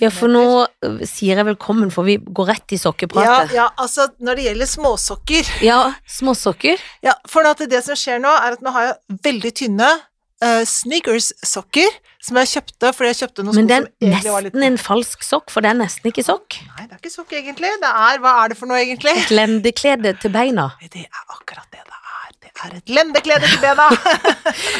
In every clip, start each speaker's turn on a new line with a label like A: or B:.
A: Ja, for nå øh, sier jeg velkommen, for vi går rett i
B: ja,
A: sokkepratet.
B: ja, altså når det gjelder småsokker
A: Ja, små sokker.
B: Ja, for at det som skjer nå, er at nå har jeg veldig tynne eh, Snickers-sokker som jeg kjøpte fordi jeg kjøpte noen
A: Men det
B: sko
A: er
B: som egentlig var litt
A: nesten en falsk sokk, for det er nesten ikke sokk.
B: Nei, det er ikke sokk, egentlig. Det er Hva er det for noe, egentlig?
A: Et lendeklede til beina.
B: Det er akkurat det det er. Det er et lendeklede til bena.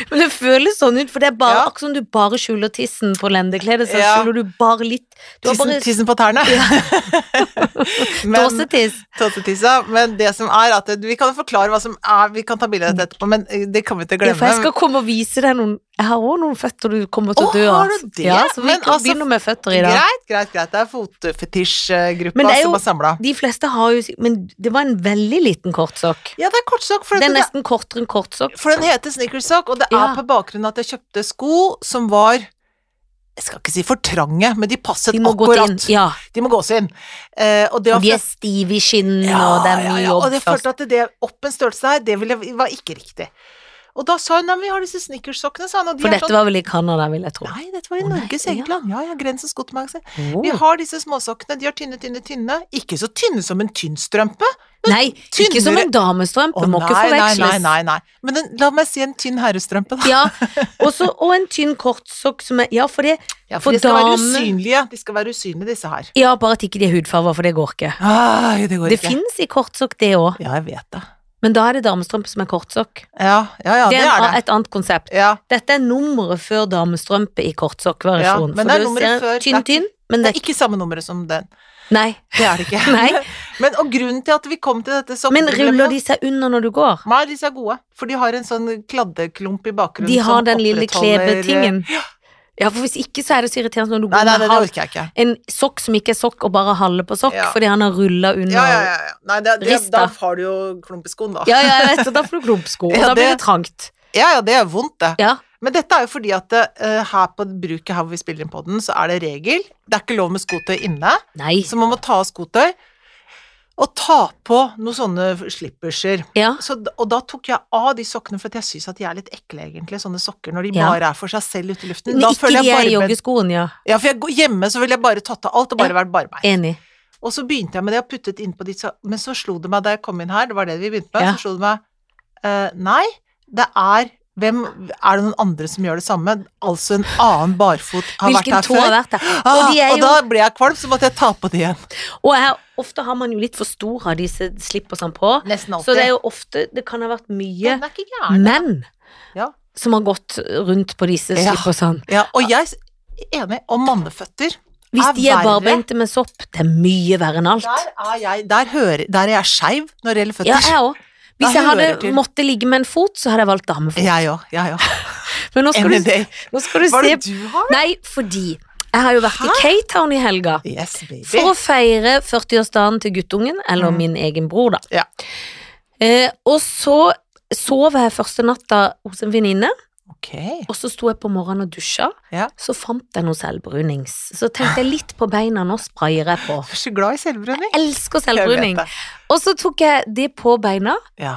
A: Men det føles sånn ut, for det er bare
B: Ja.
A: akkurat som du bare skjuler tissen på lendekledet, så
B: Ja.
A: skjuler du bare litt. Du har
B: Tissen,
A: bare
B: tissen på tærne. Men-
A: dåsetiss.
B: Tåtetissa. Men det som er at vi kan jo forklare hva som er Vi kan ta bilde av dette etterpå, men eh, det kan vi ikke
A: Ja,
B: glemme.
A: for jeg skal komme og vise deg noen Jeg har òg noen føtter du kommer til å
B: Å,
A: dø
B: har
A: av.
B: du det?
A: Ja, så vi
B: Men
A: kan
B: altså,
A: begynne med føtter i dag.
B: Greit, greit, greit. Det er
A: Men
B: fotfetisjgruppa
A: det er jo-
B: som er samla.
A: De fleste har jo Men det var en veldig liten kortsokk.
B: Ja, det er kortsokk, for,
A: Det
B: at
A: er
B: det,
A: nesten kortere enn kortsokk.
B: for den heter snickersokk, og det er
A: Ja.
B: på bakgrunn av at jeg kjøpte sko som var jeg skal ikke si for trange, men de passet
A: De må gå
B: akkurat.
A: inn. Ja,
B: De må gås inn. Eh, og det var
A: og de er stive i skinnene, og det er mye jobb
B: Og jeg
A: først.
B: følte at det opp en størrelse her, det ville, var ikke riktig. Og da sa hun at vi har disse snickersokkene, sa hun. Og de sånn-
A: For
B: er
A: dette var vel i Canada, vil jeg tro.
B: Nei, dette var i
A: Å, nei,
B: Norges
A: ja. Oh.
B: eget land. Ja, ja, Grensens godtmagasin. Vi
A: Åh.
B: har disse småsokkene, de er tynne, tynne, tynne. Ikke så tynne som en tynnstrømpe.
A: Nei, ikke som en damestrømpe, må ikke
B: sånn nei, nei, nei,
A: forveksles.
B: nei, nei. Men en, la meg si en tynn herrestrømpe, da.
A: Ja, og så- og en tynn kortsokk som er Ja, for det
B: Ja,
A: for
B: de skal være
A: damer-
B: usynlige, de skal være usynlige, disse her.
A: Ja, bare at ikke de er hudfarger, for det går ikke.
B: Ai, det går
A: Det
B: ikke.
A: fins i kortsokk, det òg,
B: Ja, jeg vet det.
A: men da er det damestrømpe som er kortsokk.
B: Ja, ja, ja
A: det
B: det
A: er, en-
B: er det.
A: et annet konsept.
B: Ja,
A: Dette er nummeret før damestrømpe i
B: Ja, men
A: kortsokkversjonen. For
B: det er
A: du
B: nummeret
A: ser
B: før,
A: Tynn,
B: det er
A: tynn, men
B: det
A: det
B: er ikke samme nummeret som den.
A: Nei.
B: Det er det ikke.
A: Nei.
B: Men, og grunnen til at vi kom til dette
A: Men
B: sokkeproblemet-
A: ruller de seg under når du går?
B: Nei, disse er gode, for de har en sånn kladdeklump i bakgrunnen
A: De har
B: som
A: den lille
B: opprettholder-
A: klebetingen. Ja, for hvis ikke så er det så irriterende når du
B: Nei,
A: går
B: nei, nei,
A: med
B: det
A: halv
B: orker jeg ikke.
A: en sokk som ikke er sokk, og bare halve på sokk
B: Ja.
A: fordi han har rulla under.
B: Ja, ja, ja. ja. Nei, det, det,
A: Rista.
B: da har du jo klump i skoen, da.
A: Ja, ja, jeg vet, og da får du klumpsko, og
B: Ja,
A: da blir
B: det-
A: det trangt.
B: Ja, ja, det er vondt, det.
A: Ja.
B: Men dette er jo fordi at eh, her på bruket her hvor vi spiller inn på den, så er det regel. Det er ikke lov med skotøy inne,
A: Nei.
B: så man må ta av skotøy. Og ta på noen sånne slipperser.
A: Ja.
B: Så, d- og da tok jeg av de sokkene, for at jeg syns at de er litt ekle, egentlig, sånne sokker, når de
A: Ja.
B: bare er for seg selv ute i luften.
A: Men
B: Da
A: ikke
B: føler
A: de er i
B: jeg barben
A: joggeskoen, ja.
B: Ja, for jeg, går- hjemme så ville jeg bare tatt av alt og bare vært barbeint.
A: Enig.
B: Og så begynte jeg med det og puttet innpå ditt, så- men så slo det meg da jeg kom inn her, det var det vi begynte med,
A: Ja.
B: så slo det meg eh, Nei, det er hvem, Er det noen andre som gjør det samme? Altså en annen barfot har vært
A: Hvilken
B: her
A: tå har
B: før.
A: vært der? Og
B: Ah,
A: de er
B: og
A: jo
B: da ble jeg kvalm, så måtte jeg ta på det igjen.
A: Og her, ofte har man jo litt for stor av disse slippersene på,
B: Nesten
A: så det er jo ofte Det kan ha vært mye
B: Den er ikke gæren.
A: menn
B: Ja.
A: som har gått rundt på disse
B: Ja.
A: slippersene.
B: Ja, og jeg er enig, og manneføtter
A: Hvis
B: Er
A: de er
B: verre.
A: barbeinte med sopp, det er mye verre enn alt.
B: Der er jeg, der hører, der er jeg skeiv når det gjelder
A: Ja,
B: føtter.
A: jeg òg.
B: Da
A: Hvis jeg
B: hører
A: hadde
B: til.
A: måttet ligge med en fot, så hadde jeg valgt damefot.
B: Jeg òg, jeg òg.
A: Men nå skal
B: Any
A: du,
B: day.
A: nå skal du
B: Hva er
A: se
B: det du har?
A: Nei, fordi jeg har jo vært i
B: Hæ?
A: Cape Town i helga.
B: Yes, baby.
A: For å feire 40-årsdagen til guttungen, eller
B: Mm.
A: min egen bror, da.
B: Ja.
A: Eh, og så sov jeg første natta hos en venninne,
B: Ok.
A: og så sto jeg på morgenen og dusja.
B: Ja.
A: Så fant jeg noe selvbrunings. Så tenkte jeg litt på beina, nå sprayer jeg på.
B: Jeg er så glad i selvbrenning.
A: Elsker
B: Jeg vet
A: selvbruning.
B: det.
A: Og så tok jeg det på beina,
B: Ja.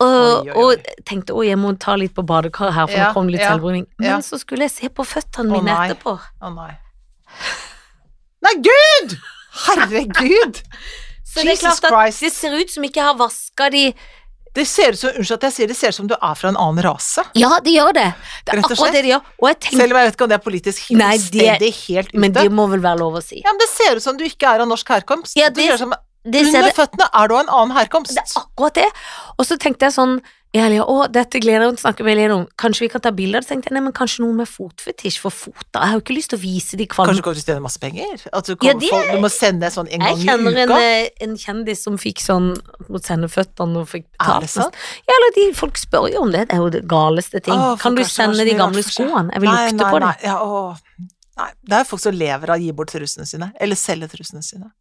A: og,
B: Oi, oi, oi.
A: og tenkte å, jeg må ta litt på badekar her, for
B: Ja,
A: nå kom det litt
B: ja,
A: selvbruning. Men
B: ja.
A: så skulle jeg se på
B: Å,
A: føttene mine
B: nei.
A: etterpå.
B: Å nei. Nei, gud! Herregud!
A: Så det er
B: Jesus
A: klart at
B: Christ.
A: det ser ut som ikke jeg har vaska de
B: Det ser ut som, unnskyld at jeg sier det, ser ut som du er fra en annen rase.
A: Ja, det gjør det. Det er
B: Rett og
A: akkurat
B: slett.
A: det de gjør. Og jeg tenker,
B: Selv om jeg vet ikke om det er politisk
A: Nei, det-
B: fullstendig helt ute.
A: men det må vel være lov å si.
B: Ja, men det ser ut som du ikke er av norsk herkomst.
A: Ja,
B: Du
A: det-
B: ser ut som,
A: Det, ser
B: under
A: det,
B: føttene er du av en annen herkomst.
A: det er akkurat det. Og så tenkte jeg sånn i helga, å, dette gleder jeg meg til å snakke med Elin om. Kanskje vi kan ta bilder? Så tenkte jeg, nei, men kanskje noen med fotfetisj for foter. Jeg har jo ikke lyst til å vise de
B: Kanskje
A: kvalme.
B: du kommer til å stjele masse penger? At du,
A: Ja,
B: kommer-
A: det-
B: folk- du må sende sånn en gang
A: Jeg
B: i
A: kjenner en,
B: uka?
A: eh, en kjendis som fikk sånn mot sende føttene og fikk
B: Er det
A: betalt. sånn.
B: sant?
A: Ja, eller de, folk spør jo om det, det er jo det galeste ting.
B: Å, folk
A: kan du
B: er så
A: sende de
B: rasjonelle,
A: gamle
B: rart for seg.
A: skoene? Jeg vil
B: Nei,
A: lukte
B: nei,
A: på
B: nei,
A: det.
B: ja, å, nei. Det er jo folk som lever av å gi bort trusene sine. Eller selge trusene sine.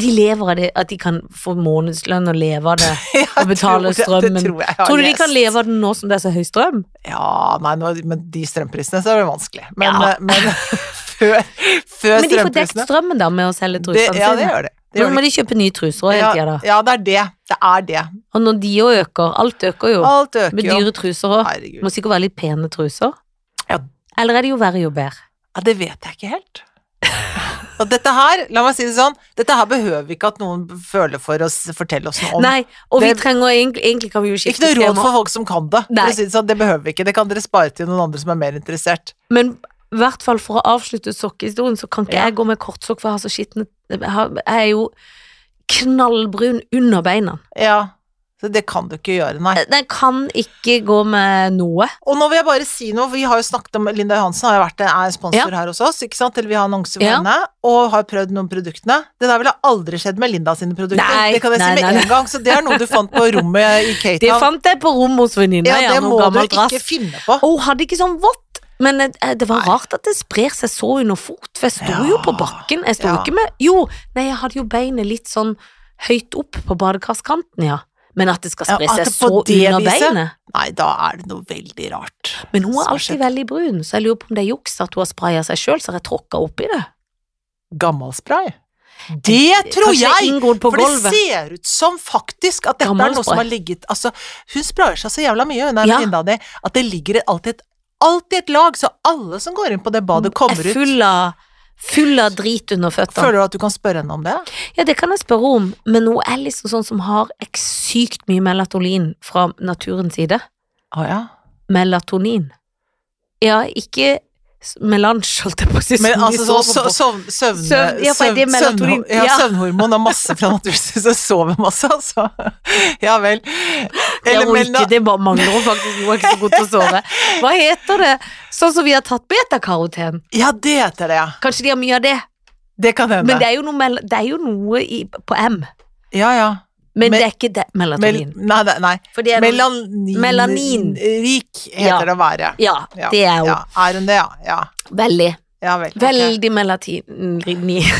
A: De lever av det, at de kan få månedslønn og leve av det.
B: Jeg
A: Og betale
B: tror det-
A: strømmen.
B: Det tror jeg. jeg har
A: Tror du de
B: lest.
A: kan leve av det nå som det er så høy strøm?
B: Ja, nei, nå, med de strømprisene så er det vanskelig. Men,
A: Ja.
B: eh, men før, før
A: Men de får dekt
B: strømprisene
A: strømmen da med å
B: det,
A: selge trusene
B: Ja, det
A: sine.
B: gjør det. det,
A: Nå
B: gjør
A: må
B: det.
A: de kjøpe nye truser hele tida,
B: Ja,
A: da.
B: ja, det er det. Det er det.
A: Og når de òg øker, alt øker jo.
B: Alt øker
A: Med
B: jo.
A: dyre truser òg.
B: Herregud.
A: Må sikkert være litt pene truser.
B: Ja.
A: Eller er det jo verre jo bedre?
B: Ja, det vet jeg ikke helt. Og dette her, la meg si det sånn, dette her behøver vi ikke at noen føler for å s- fortelle oss noe om.
A: Nei, og vi
B: Det-
A: trenger egentlig, egentlig kan vi jo
B: ikke noe
A: skifte
B: råd
A: tema,
B: for folk som kan det. For
A: Nei.
B: å si det sånn, det behøver vi ikke. Det kan dere spare til noen andre som er mer interessert.
A: men i hvert fall for å avslutte sokkehistorien, så kan ikke
B: Ja.
A: jeg gå med kortsokk, for jeg har så skitne Jeg har- jeg er jo knallbrun under beina.
B: Ja, så det kan du ikke gjøre, nei.
A: Jeg kan ikke gå med noe.
B: Og nå vil jeg bare si noe, for vi har jo snakket om Linda Johansen, har jo vært er sponsor her hos oss, ikke sant, eller vi har annonse for
A: Ja.
B: henne, og har prøvd noen produktene. Det der ville aldri skjedd med Linda sine produkter,
A: Nei,
B: det kan jeg
A: nei,
B: si
A: nei,
B: med
A: nei.
B: en gang, så det er noe du fant på rommet i Cape
A: Det
B: Town.
A: fant jeg på rommet hos venninna.
B: Ja, det
A: noe
B: må du
A: gammel
B: ikke
A: drass.
B: finne på.
A: Og hun hadde ikke sånn vått, men eh, det var
B: Nei.
A: rart at det sprer seg så under fot, for jeg sto jo
B: Ja.
A: på bakken. Jeg sto
B: Ja.
A: ikke med Jo, nei, jeg hadde jo beinet litt sånn høyt opp på badekarskanten, ja. Men at det skal
B: Ja,
A: spre
B: at
A: seg
B: det
A: så
B: på det
A: under
B: viset.
A: beinet.
B: Nei, da er det noe veldig rart.
A: Men hun er
B: Som har
A: alltid
B: skjedd.
A: veldig brun, så jeg lurer på om det er juks at hun har spraya seg sjøl, så har jeg tråkka oppi det.
B: Gammalspray? Det tror
A: Kanskje
B: jeg!
A: Inngol på
B: For det
A: gulvet.
B: ser ut som faktisk at dette er noe
A: Gammalspray.
B: som har ligget Altså, hun sprayer seg så jævla mye, hun der
A: Ja.
B: venninna di, at det ligger alltid et, alltid et lag, så alle som går inn på det badet, kommer
A: Er
B: ut.
A: full av Full av drit under føttene.
B: Føler du at du kan spørre henne om det?
A: Ja, det kan jeg spørre om, men hun er liksom sånn som har ek- sykt mye melatonin fra naturens side.
B: Å ja.
A: melatonin. Ja, ikke s- melange, holdt jeg på å si. som
B: Men
A: de
B: altså sånn
A: sover på.
B: søvn, søvn, søvn,
A: Søvn- ja, for det er melatonin.
B: søvnho- ja,
A: Ja.
B: søvnhormon og masse fra natursynet, så sover masse, altså. Ja vel.
A: Det er
B: Eller
A: hun
B: melna-
A: ikke, det bare mangler hun faktisk. Hun er ikke så god til å sove. Hva heter det? Sånn som vi har tatt betakaroten.
B: Ja, det heter det, ja.
A: Kanskje de har mye av det,
B: Det kan hende.
A: men det er jo noe, mel det er jo noe i, på M.
B: ja, ja.
A: Men
B: Mel-
A: det er ikke det,
B: Mel
A: melatonin.
B: nei, nei, nei.
A: For det er noe-
B: Melanin
A: Melanin.
B: Rik heter
A: Ja.
B: det å være.
A: Ja,
B: Ja,
A: det er hun.
B: Ja, er hun det, ja? Ja,
A: Veldig.
B: ja vel. ok.
A: Veldig melatonin.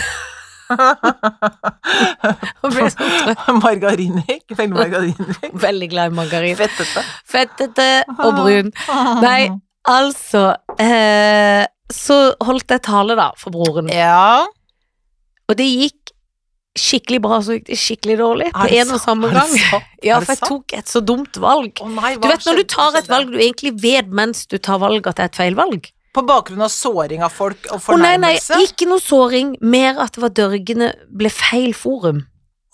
A: Hun ble så trøtt.
B: margarinrik. Veldig margarinrik.
A: Veldig glad i margarin.
B: Fettete.
A: Fettete og brun.
B: Ah.
A: Nei, Altså eh, Så holdt jeg tale, da, for broren.
B: Ja.
A: Og det gikk skikkelig bra, og så gikk det skikkelig dårlig på
B: Er det
A: en og
B: sant?
A: samme
B: Er det
A: gang.
B: sant?
A: Ja,
B: Er det
A: for jeg
B: sant?
A: tok et så dumt valg.
B: Å nei,
A: Du
B: hva
A: vet når du
B: skjedde?
A: tar et valg du egentlig vet mens du tar valg at det er et feilvalg.
B: På bakgrunn av såring av folk og
A: Å nei, nei,
B: fornærmelse?
A: ikke noe såring, mer at det var dørgende ble feil forum.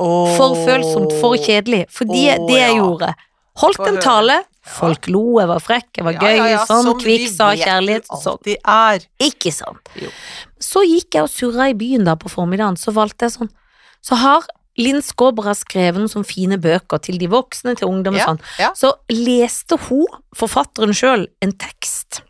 B: Åh.
A: For følsomt, for kjedelig. Fordi
B: Åh,
A: det
B: ja.
A: jeg gjorde. Holdt
B: Få
A: en
B: høre.
A: tale, folk lo, jeg var frekk, jeg var
B: Ja,
A: gøy,
B: ja, ja,
A: sånn,
B: som
A: kvikk,
B: vi
A: sa
B: vet du
A: kjærlighet, sånn.
B: alltid er.
A: Ikke sant.
B: Jo.
A: Så gikk jeg og surra i byen da på formiddagen, så valgte jeg sånn Så har Linn Skåber har skrevet noen sånne fine bøker til de voksne, til ungdom og
B: Ja,
A: sånn.
B: ja.
A: Så leste hun, forfatteren sjøl, en tekst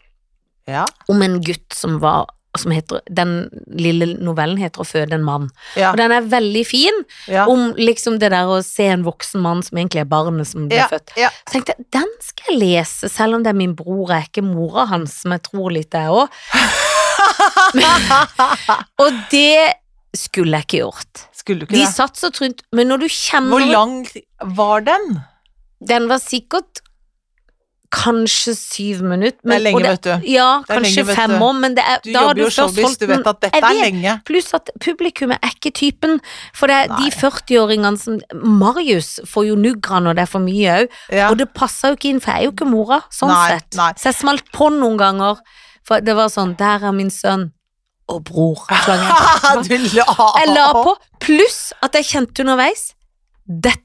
B: Ja.
A: om en gutt som var som heter, Den lille novellen heter 'Å føde en mann'.
B: Ja.
A: Og den er veldig fin,
B: Ja.
A: om liksom det der å se en voksen mann som egentlig er barnet som ble
B: Ja,
A: født.
B: ja.
A: Så tenkte jeg, den skal jeg lese, selv om det er min bror, jeg er ikke mora hans, som jeg tror litt jeg òg. Og det skulle jeg ikke gjort.
B: Skulle du ikke
A: De
B: det?
A: satt så trynt, men når du
B: Hvor
A: kjenner
B: lang var den?
A: Den var sikkert kanskje syv minutter.
B: Det er lenge,
A: og det,
B: vet du.
A: ja,
B: Det er lenge,
A: kanskje
B: vet
A: fem
B: du.
A: år, men det er,
B: Du
A: da har
B: jobber
A: du
B: jo
A: først
B: showbiz,
A: holdt
B: du vet
A: den.
B: at dette
A: Jeg
B: er
A: vet,
B: lenge.
A: Pluss at publikummet er ikke typen. For det er
B: Nei.
A: de 40-åringene som Marius får jo nuggran når det er for mye òg,
B: Ja.
A: og det passer jo ikke inn, for jeg er jo ikke mora, sånn
B: Nei,
A: sett.
B: nei.
A: Så jeg smalt på noen ganger, for det var sånn Der er min sønn og bror. klang jeg på.
B: du la
A: Jeg la på, pluss at jeg kjente underveis Dette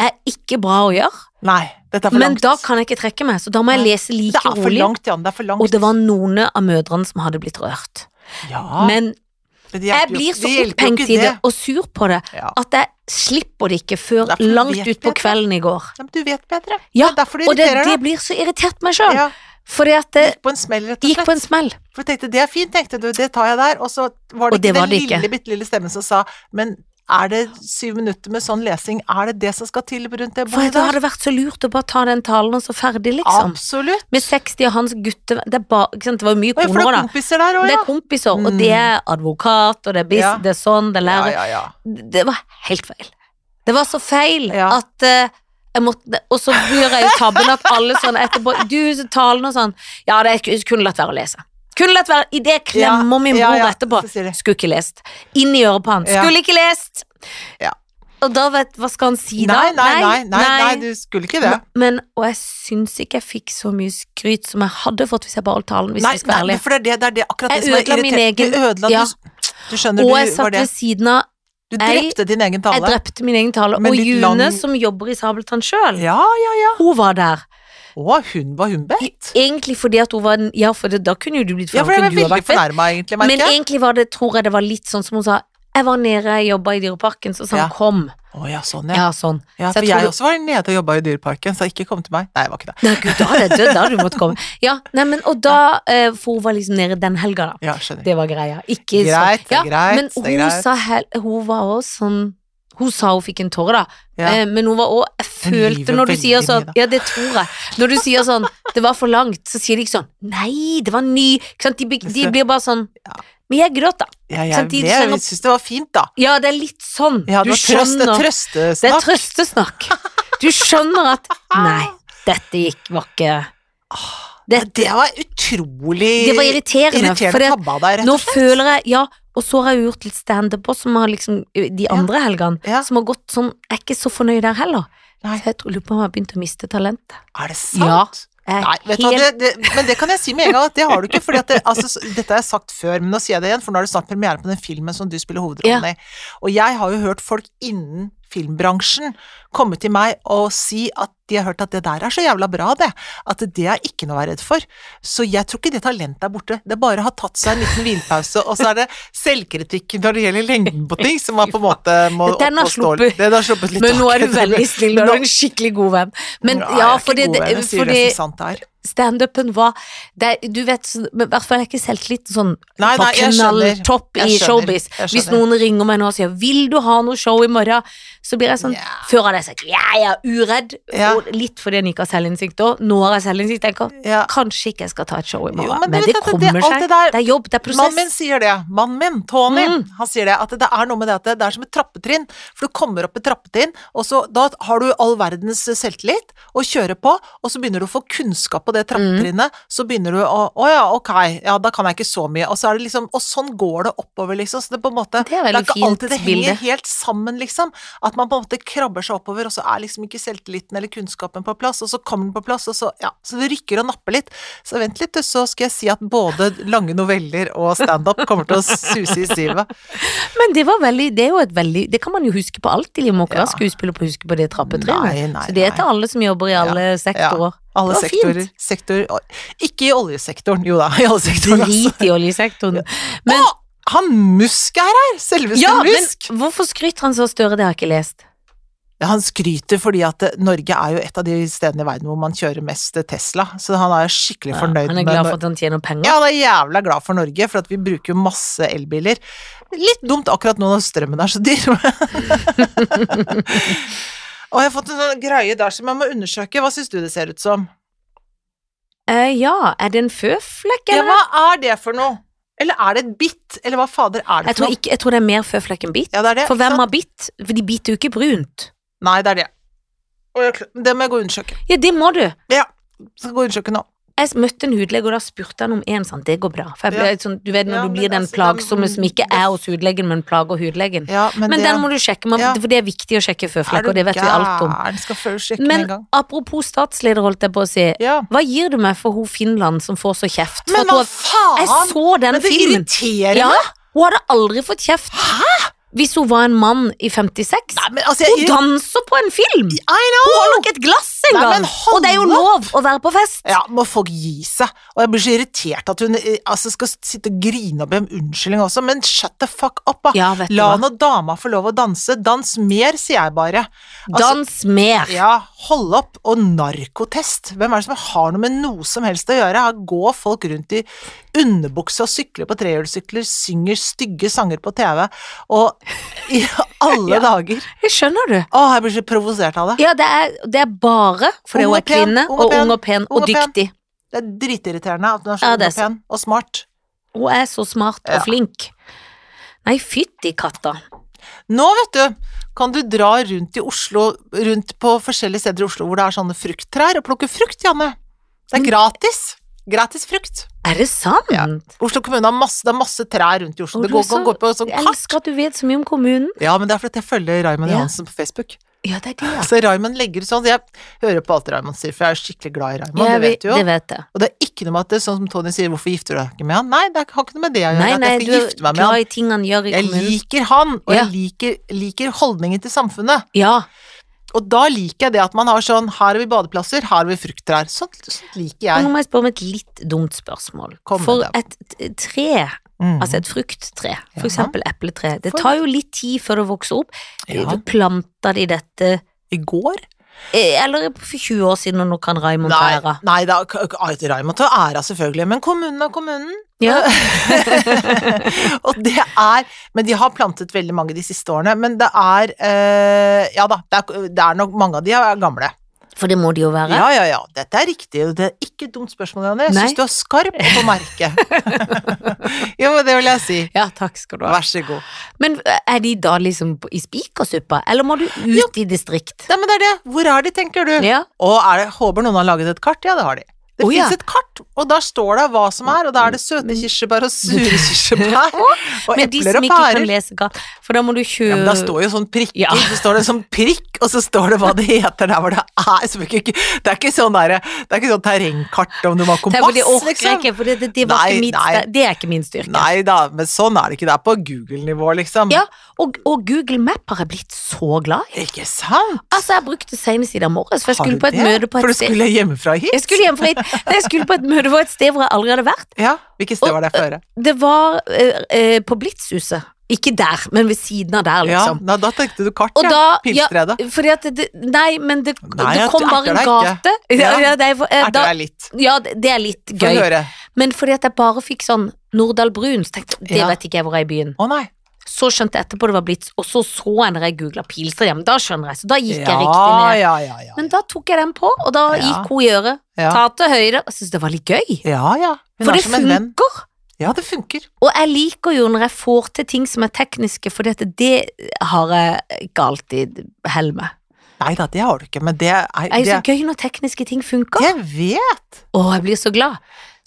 A: er ikke bra å gjøre,
B: Nei, dette er for
A: men
B: langt.
A: da kan jeg ikke trekke meg, så da må jeg
B: Nei.
A: lese
B: det
A: like
B: er for
A: rolig.
B: langt, Jan. Det er for langt.
A: Og det var noen av mødrene som hadde blitt rørt.
B: ja,
A: Men
B: men det hjelper
A: jeg
B: jo-
A: blir så
B: det hjelper jo
A: opphengt
B: ikke
A: i det og sur på det
B: Ja.
A: at jeg slipper det ikke før
B: Derfor
A: langt
B: vet
A: utpå
B: jeg det.
A: kvelden i går.
B: Ja, men du vet bedre.
A: Ja,
B: det er derfor du
A: Og det,
B: irriterer
A: det
B: deg.
A: blir så irritert meg sjøl,
B: Ja,
A: fordi at det
B: på en smell, rett og
A: gikk
B: slett.
A: på en smell.
B: For jeg tenkte, det er fint, tenkte du, det tar jeg der. Og så var det
A: Og det
B: ikke
A: var
B: den
A: det ikke.
B: lille, bitte lille stemmen som sa, men er det syv minutter med sånn lesing, er det det som skal til rundt det
A: For
B: bordet
A: da
B: der?
A: hadde det vært så lurt å bare ta den talen og så ferdig, liksom.
B: Absolutt.
A: Med 60 og hans gutte... Det, er ba, ikke sant? det var jo mye
B: Oi, for det
A: koner òg,
B: er
A: da.
B: kompiser der òg,
A: Det
B: ja. Mm.
A: er kompiser, og det er advokat, og det er bis,
B: Ja.
A: det er sånn, det er
B: Ja,
A: lærer.
B: ja, ja.
A: Det var helt feil. Det var så feil
B: Ja.
A: at eh, jeg måtte, og så gjør jeg jo tabben at alle sånn etterpå Du, så talen og sånn Ja, det ku- kunne latt være å lese. Kunne latt være Idet jeg klemmer min bror
B: ja, ja,
A: etterpå.
B: så sier de.
A: Skulle ikke lest. Inn i øret på han.
B: Ja.
A: Skulle ikke lest!
B: Ja.
A: Og da vet Hva skal han si da?
B: Nei, nei, nei, nei, nei, du skulle ikke det.
A: Men, og jeg syns ikke jeg fikk så mye skryt som jeg hadde fått hvis jeg bare holdt talen, hvis
B: Nei,
A: jeg skal være
B: nei,
A: ærlig.
B: for det er det, det er det akkurat det
A: Jeg
B: som er
A: ødela min
B: irriterende. Du
A: egen-
B: ødela
A: ja.
B: du- Du skjønner,
A: og jeg
B: du var
A: satt
B: det.
A: ved siden av
B: Du
A: jeg-
B: drepte din egen
A: Jeg
B: tale.
A: drepte min egen tale.
B: Men
A: Og
B: litt
A: June,
B: lang-
A: som jobber i Sabeltann sjøl,
B: Ja, ja, ja.
A: hun var der.
B: Å, hun var hun bedt.
A: Egentlig fordi at hun var en- Ja, for det, da kunne jo du blitt
B: Ja, for jeg ble
A: fornærmet. du har
B: veldig
A: vært fett.
B: fornærma, egentlig,
A: Men
B: merker jeg.
A: egentlig var det, tror jeg det var litt sånn som hun sa. Jeg var nede, jeg jobba i Dyreparken, så sa han
B: Ja.
A: kom.
B: Å ja, sånn, ja.
A: Ja, sånn.
B: ja
A: så jeg
B: for
A: tror
B: jeg
A: du-
B: også var nede og jobba i Dyreparken, så ikke kom til meg. Nei, jeg var ikke det.
A: Nei, gud, da hadde jeg dødd, da hadde du måttet komme. Ja, nei, men, og da, eh, for hun var liksom nede den helga, da.
B: Ja, skjønner.
A: Det var greia. Ikke
B: Greit, det
A: sånn.
B: er greit,
A: men
B: det er
A: hun
B: greit.
A: sa hel, hun var også sånn Hun sa hun fikk en tåre, da.
B: Ja.
A: Eh, men hun var også Jeg
B: Hun
A: følte
B: lyver
A: når du
B: veldig
A: sier
B: mye,
A: sånn
B: da.
A: Ja, det tror jeg. Når du sier sånn Det var for langt, så sier de ikke sånn Nei, det var ny. Ikke sant? De, blir- de blir bare sånn Men jeg gråt, da.
B: Ja, jeg,
A: Samtidig
B: det-
A: skjønner-
B: jeg syns det var fint, da.
A: Ja, det er litt sånn.
B: Ja,
A: du
B: det var trøst, det
A: skjønner.
B: er
A: det er
B: trøstesnakk.
A: trøstesnakk. Du skjønner at Nei, dette gikk var ikke
B: Ja, det var utrolig
A: Det var irriterende.
B: irriterende
A: fordi at-
B: tabba av deg, rett
A: Nå
B: og slett.
A: føler jeg, ja Og så har jeg gjort litt standup også, som har liksom de andre helgene.
B: Ja.
A: Som har gått sånn Jeg er ikke så fornøyd der heller.
B: Nei.
A: Så jeg tror lurer på om jeg har begynt å miste talentet.
B: Er det
A: Ja.
B: sant?
A: Jeg er
B: Nei, vet du hva, det,
A: helt-
B: det, men det kan jeg si med en gang at det har du ikke. Fordi at det, altså, s- dette har jeg sagt før, men nå sier jeg det igjen, for nå er det snart premiere på den filmen som du spiller hovedrollen i. Og jeg har jo hørt folk innen filmbransjen komme til meg og si at de har hørt at det der er så jævla bra, det. At det er ikke noe å være redd for. Så jeg tror ikke det talentet er borte. Det bare har tatt seg en liten hvilepause, og så er det selvkritikken når det gjelder lengden på ting, som man på en måte må
A: Den har
B: opp og stå
A: sluppet.
B: Den har sluppet litt
A: Men nå er du
B: taket.
A: veldig snill, nå er
B: Nå-
A: du en skikkelig god venn. Men
B: Nei, jeg
A: ja,
B: er ikke
A: fordi,
B: god
A: det-
B: venn, jeg sier det
A: fordi
B: som sant er.
A: standupen var det, Du vet, så- men i hvert fall er ikke selvtillit sånn
B: Nei,
A: på
B: nei, jeg skjønner.
A: knalltopp
B: Jeg
A: i
B: skjønner,
A: showbiz.
B: jeg
A: Hvis
B: skjønner.
A: noen ringer meg nå og sier 'Vil du ha noe show i morgen?' så blir jeg sånn
B: Ja.
A: Før hadde jeg sagt 'Ja, jeg er uredd',
B: Ja.
A: og litt fordi en ikke har selvinnsikt òg. Nå har jeg selvinnsikt. Jeg tenker
B: Ja.
A: kanskje ikke jeg skal ta et show i morgen,
B: Jo, men
A: men,
B: du vet
A: det
B: at det-
A: kommer
B: alt det
A: seg. Det,
B: der-
A: er jobb, det er
B: Mannen
A: prosess.
B: min sier det. Mannen min, Tony, han sier det. At det er noe med det at det, det er som et trappetrinn. For du kommer opp et trappetrinn, og så da har du all verdens selvtillit og kjører på, og så begynner du å få kunnskap på det trappetrinnet. Så begynner du å Å ja, ok, ja, da kan jeg ikke så mye. Og så er det liksom Og sånn går det oppover, liksom. Så det på en måte
A: Det er
B: det er
A: veldig
B: ikke
A: fint
B: alltid det
A: bilde.
B: henger helt sammen, liksom. At man på en måte krabber seg oppover, og så er liksom ikke selvtilliten eller kunnskapen på plass, og så kommer den på plass, og så Ja, så det rykker og napper litt. Så vent litt, du, så skal jeg si at både lange noveller og standup kommer til å suse i sivet.
A: Men det var veldig Det er jo et veldig Det kan man jo huske på alltid. Man må ikke
B: Ja.
A: være skuespiller på å huske på
B: Nei,
A: det trappetrinnet.
B: nei,
A: Så det er til
B: nei.
A: alle som jobber i alle sektorer.
B: Alle
A: Det var fint.
B: sektorer. Sektor og- Ikke i oljesektoren, jo da, i alle sektorer. Altså.
A: Drit i oljesektoren. Men,
B: Å, han Musk er her! Selveste
A: ja, men
B: Musk!
A: hvorfor skryter han så av Støre? Det har jeg ikke lest.
B: Ja, Han skryter fordi at eh, Norge er jo et av de stedene i verden hvor man kjører mest eh, Tesla, så han er skikkelig
A: Ja,
B: fornøyd
A: han er
B: med
A: glad
B: Nor-
A: for at han tjener penger.
B: eh, Ja, han er jævla glad for Norge, for at vi bruker jo masse elbiler. Litt dumt akkurat nå når strømmen er så dyr. Og jeg har fått en sånn greie der som jeg må undersøke. Hva syns du det ser ut som?
A: Eh, ja, er det en føflekk,
B: Ja,
A: eller?
B: hva er det for noe? Eller er det et bitt? Eller hva fader er det
A: Jeg
B: for
A: tror,
B: noe?
A: ikke, jeg tror det er mer føflekk enn bit.
B: Ja, det er det.
A: For hvem
B: sant?
A: har bitt? For de biter jo ikke brunt.
B: Nei, det er det. Og jeg, kl- det må jeg gå og undersøke.
A: Ja, det må du.
B: Ja, skal gå og undersøke nå.
A: Jeg møtte en hudlege, og da spurte han om en sånn, det går bra. For jeg ble
B: Ja.
A: sånn, du vet når
B: Ja,
A: du
B: men
A: blir den
B: altså,
A: plagsomme
B: den-
A: som ikke er hos hudlegen, men plager hudlegen.
B: Ja, men,
A: Men
B: det,
A: den må du sjekke, man,
B: Ja.
A: for det er viktig å sjekke føflekk, og det vet vi alt
B: Er
A: om.
B: du gæren? Skal først sjekke med
A: Men
B: en gang.
A: apropos statsleder, holdt jeg på å si,
B: Ja.
A: hva gir du meg for hun Finland som får så kjeft? For
B: Men
A: at
B: hva
A: hun,
B: faen!
A: jeg så den
B: men det
A: filmen.
B: irriterer
A: Ja,
B: meg!
A: hun hadde aldri fått kjeft. Hvis hun var en mann i 56.
B: Nei, men altså,
A: Hun
B: jeg,
A: danser på en film!
B: I
A: Hun
B: know!
A: har nok et glass en
B: Nei,
A: gang!
B: men hold
A: Og det er jo
B: opp!
A: lov å være på fest!
B: Ja, må folk gi seg. Og jeg blir så irritert at hun eh, altså, skal sitte og grine og be om unnskyldning også, men shut the fuck up, da.
A: Ja, vet du
B: La
A: hva.
B: nå dama få lov å danse. Dans mer, sier jeg bare. Altså,
A: Dans mer!
B: ja, hold opp. Og narkotest. Hvem er det som har noe med noe som helst å gjøre? Her går folk rundt i underbukse og sykler på trehjulssykler, synger stygge sanger på TV, og i alle dager
A: Jeg skjønner du.
B: Å, jeg blir så provosert av det.
A: Ja, det er, det er bare fordi
B: Ung
A: hun
B: og
A: er
B: pen,
A: kvinne,
B: ung og
A: og
B: pen,
A: ung og pen,
B: ung
A: og
B: og pen.
A: dyktig.
B: Det er dritirriterende at hun er så
A: Ja,
B: ung
A: det er
B: og pen og smart.
A: Hun er så smart og
B: Ja.
A: flink. Nei, fytti katta.
B: Nå, vet du, kan du dra rundt i Oslo, rundt på forskjellige steder i Oslo hvor det er sånne frukttrær, og plukke frukt, Janne. Det er gratis. Gratis frukt.
A: Er det sant?
B: Ja. Oslo kommune har masse, det er masse trær rundt i Oslo.
A: Og
B: Det
A: du
B: går,
A: så-
B: kan gå på sånn
A: Jeg
B: kart.
A: elsker at du vet så mye om kommunen.
B: Ja, men det er fordi jeg følger Raymond
A: Ja.
B: Johansen på Facebook.
A: Ja, det er det, ja.
B: Så Raymond legger ut sånn. Jeg hører på alt Raymond sier, for jeg er skikkelig glad i Raymond,
A: Ja,
B: det
A: vi-
B: vet du jo.
A: Det vet jeg.
B: Og det er ikke noe med at det er sånn som Tony sier, hvorfor gifter du deg ikke med han? Nei, det har ikke noe med det å gjøre,
A: Nei,
B: at
A: nei,
B: jeg
A: du
B: skal
A: er
B: gifte meg med
A: glad
B: han.
A: i tingene han gjør i
B: Jeg
A: kommunen.
B: liker han, og
A: Ja.
B: jeg liker, liker holdningen til samfunnet.
A: Ja,
B: Og da liker jeg det at man har sånn, her har vi badeplasser, her har vi frukttrær. Sånt, sånt liker
A: men
B: jeg.
A: nå må jeg spørre om et litt dumt spørsmål.
B: Kom med
A: For
B: det.
A: et t- tre,
B: Mm.
A: altså et frukttre,
B: Ja.
A: for eksempel epletre, det
B: For-
A: tar jo litt tid før det vokser opp.
B: Ja.
A: Planter de dette
B: I går?
A: eh, Eller for 20 år siden, og nå kan Raymond ta
B: Nei,
A: æra.
B: nei da, k- k- ah, ai, Raymond tar æra selvfølgelig, men kommunen er kommunen.
A: Ja.
B: og det er Men de har plantet veldig mange de siste årene, men det er eh, Ja da, det er, det er nok mange av de er gamle.
A: For det må de jo være.
B: Ja, ja, ja. Dette er riktig, og det er ikke et dumt spørsmål, Janne. Jeg
A: Nei.
B: syns du er skarp og på merket. jo, men det vil jeg si.
A: Ja, takk skal du ha.
B: Vær så god.
A: Men eh, er de da liksom på- i spikersuppa, eller må du ut i distrikt?
B: Nei, men det er det. Hvor er de, tenker du?
A: Ja.
B: Og er det, håper noen har laget et kart? Ja, det har de. Det
A: Å,
B: finnes
A: ja.
B: fins et kart, og der står det hva som er, og da er det søte kirsebær og sure kirsebær. Og
A: Men de
B: epler
A: som
B: og
A: ikke kan
B: pærer.
A: lese galt, for da må du
B: Ja,
A: kjøpe
B: men da står jo sånn prikker,
A: Ja.
B: så står det en sånn prikk, og så står det hva det heter der hvor det er. Så det er ikke, det er ikke sånn derre Det er ikke sånn terrengkart om du må ha
A: Det er
B: kompass,
A: fordi jeg orker
B: liksom.
A: ikke, for det, det, det,
B: Nei,
A: var ikke mitt,
B: nei.
A: det er ikke min styrke.
B: Nei da, men sånn er det ikke. Det er på Google-nivå, liksom.
A: Ja, og, og Google Map har jeg blitt så glad i.
B: Ikke sant?
A: Altså, jeg brukte det senest i dag morges, for jeg
B: Har
A: skulle
B: du
A: på et
B: det?
A: møte på
B: For
A: et
B: du
A: sted.
B: skulle hjemmefra hit?
A: Jeg skulle hjem fra hit. Nei, jeg skulle på et møte på et sted hvor jeg aldri hadde vært.
B: Ja, hvilket sted var det for høre?
A: Det var eh, eh, på Blitzhuset. Ikke der, men ved siden av der,
B: Ja,
A: liksom.
B: da, da tenkte du kart,
A: Og
B: ja.
A: da- ja,
B: Pilstredet.
A: Fordi at det, Nei, men det,
B: Nei,
A: det
B: at
A: kom
B: du
A: bare en
B: erter
A: gate. Ja,
B: Ja.
A: ja, det, er for- eh,
B: Er det
A: da,
B: deg litt?
A: ja, det det er litt
B: Få
A: gøy.
B: høre.
A: Men fordi at jeg bare fikk sånn Nordahl Brun, så tenkte jeg det
B: Ja.
A: vet ikke jeg hvor er i byen.
B: Å nei.
A: Så skjønte jeg etterpå det var Blitz, og så så jeg når jeg googla Pilstred, men da skjønner jeg, så da gikk
B: ja,
A: jeg riktig ned.
B: Ja, ja, ja.
A: Men da tok jeg den på, og da
B: Ja.
A: gikk hun i øret.
B: Ja.
A: Ta til høyre. Jeg syns det var litt gøy.
B: Ja, ja. Hun
A: For
B: er
A: det
B: som en venn.
A: funker.
B: Ja, det funker.
A: Og jeg liker jo når jeg får til ting som er tekniske, for det har jeg ikke alltid hell med.
B: Nei da, det har du ikke, men det er
A: Det er jo
B: det,
A: så gøy når tekniske ting funker.
B: Jeg vet!
A: Å, jeg blir så glad.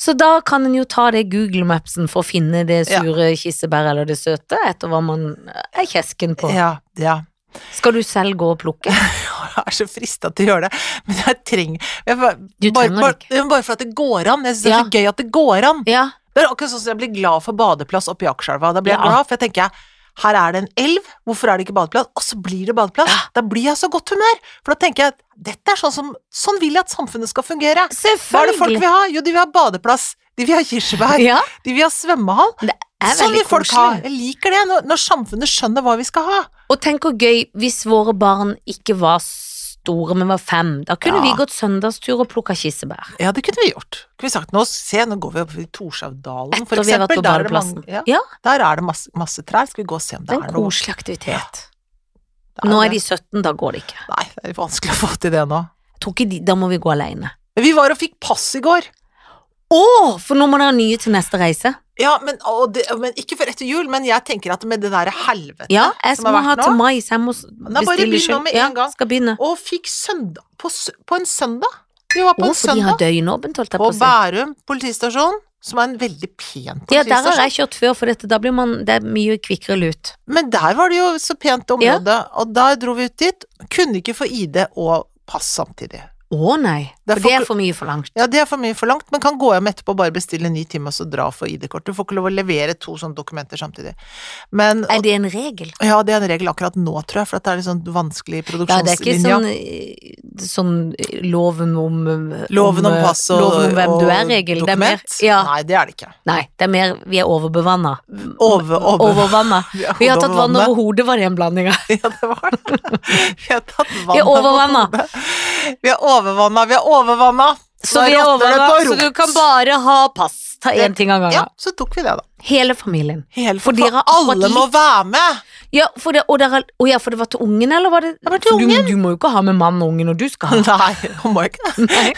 A: Så da kan en jo ta det Google Mapsen for å finne det
B: Ja.
A: sure kirsebæret eller det søte, etter hva man er kjesken på.
B: Ja, ja.
A: Skal du selv gå og plukke?
B: Jeg er så frista til å gjøre det, men jeg trenger jeg, bare,
A: Du
B: bare,
A: trenger det
B: bare, bare for at det går an. Jeg syns det er så gøy at det går an.
A: Ja.
B: Det er akkurat sånn som jeg blir glad for badeplass oppe i Akerselva. Da blir jeg
A: Ja.
B: glad, for jeg tenker her er det en elv, hvorfor er det ikke badeplass? Og så blir det badeplass. Da blir jeg så godt humør. For da tenker jeg at dette er sånn som Sånn vil jeg at samfunnet skal fungere. Hva er det folk
A: Selvfølgelig.
B: vil ha? Jo, de vil ha badeplass. De vil ha kirsebær.
A: Ja,
B: De vil ha svømmehall.
A: det er
B: Sånn
A: veldig
B: vil folk ha.
A: koselig.
B: Jeg liker det, når, når samfunnet skjønner hva vi skal ha.
A: Og tenk hvor gøy hvis våre barn ikke var store, men var fem. Da kunne
B: Ja.
A: vi gått søndagstur og plukka kirsebær.
B: Ja, det kunne vi gjort. Kunne vi sagt nå, se, nå går vi opp i Torshavdalen, for
A: Etter vi har vært
B: eksempel.
A: på
B: Der er det,
A: badeplassen.
B: mange, ja,
A: Ja,
B: der er det masse, masse trær. Skal vi gå og se om
A: det
B: det
A: er
B: er
A: en
B: noe?
A: koselig aktivitet.
B: Det
A: Nå er
B: det.
A: de 17, da går det ikke.
B: Nei, det er vanskelig å få til det nå.
A: Jeg tror ikke de, Da må vi gå alene.
B: Men vi var og fikk pass i går.
A: Å, for nå må dere ha nye til neste reise.
B: Ja, men, og det, men ikke før etter jul, men jeg tenker at med det derre helvete
A: Ja, jeg
B: som
A: må
B: har
A: ha
B: vært
A: til
B: nå.
A: mai, så jeg må s-
B: Da bare
A: bestille
B: begynn nå med
A: Ja,
B: en gang.
A: skal begynne.
B: Og fikk søndag på, sø- på en søndag. Vi var på
A: Å,
B: en
A: for de har
B: søndag
A: døgnåpent, holdt jeg
B: på
A: på å si.
B: Bærum politistasjon, som er en veldig pen
A: Ja, der har
B: politistasjon.
A: jeg kjørt før, for dette, da blir man Det er mye kvikkere lut.
B: Men der var det jo så pent område, og da dro vi ut dit. Kunne ikke få ID og pass samtidig.
A: Å nei,
B: Det er
A: for det er
B: folk-
A: for mye forlangt.
B: Ja, det er for mye forlangt, men kan gå hjem etterpå og bare bestille en ny time og så dra og få ID-kort. Du får ikke lov å levere to sånne dokumenter samtidig. Men
A: Er det en regel?
B: Ja, det er en regel akkurat nå, tror jeg, for at det er litt sånn vanskelig
A: Ja, det er ikke
B: produksjonslinja.
A: sånn, eh, sånn eh, loven om eh,
B: Loven om
A: eh,
B: pass og,
A: Loven om hvem
B: og
A: du er-regel. Det er mer,
B: dokument?
A: ja,
B: Nei, det er det ikke.
A: nei, det er mer vi er overbevanna.
B: Over, over.
A: Overvanna. Vi har tatt vann over hodet, var det en blanding av.
B: Ja, det var det. Vi har tatt vann
A: Vi er overvanna.
B: over hodet. Vi er overvanna, vi er overvanna.
A: Så
B: Da
A: vi er
B: rotter det
A: overvanna,
B: på
A: så
B: rot.
A: du kan bare ha pass. Ta én ting av
B: Ja,
A: gangen.
B: så tok vi det, da.
A: Hele familien.
B: Hele, for
A: For dere har akkurat
B: alle må
A: likt.
B: være med!
A: Ja, for det, og dere, å ja, for det var til ungen, eller var det
B: var til
A: for du, du må jo ikke ha med mannen og ungen, og du skal ha
B: Nei, hun må ikke det.
A: Nei.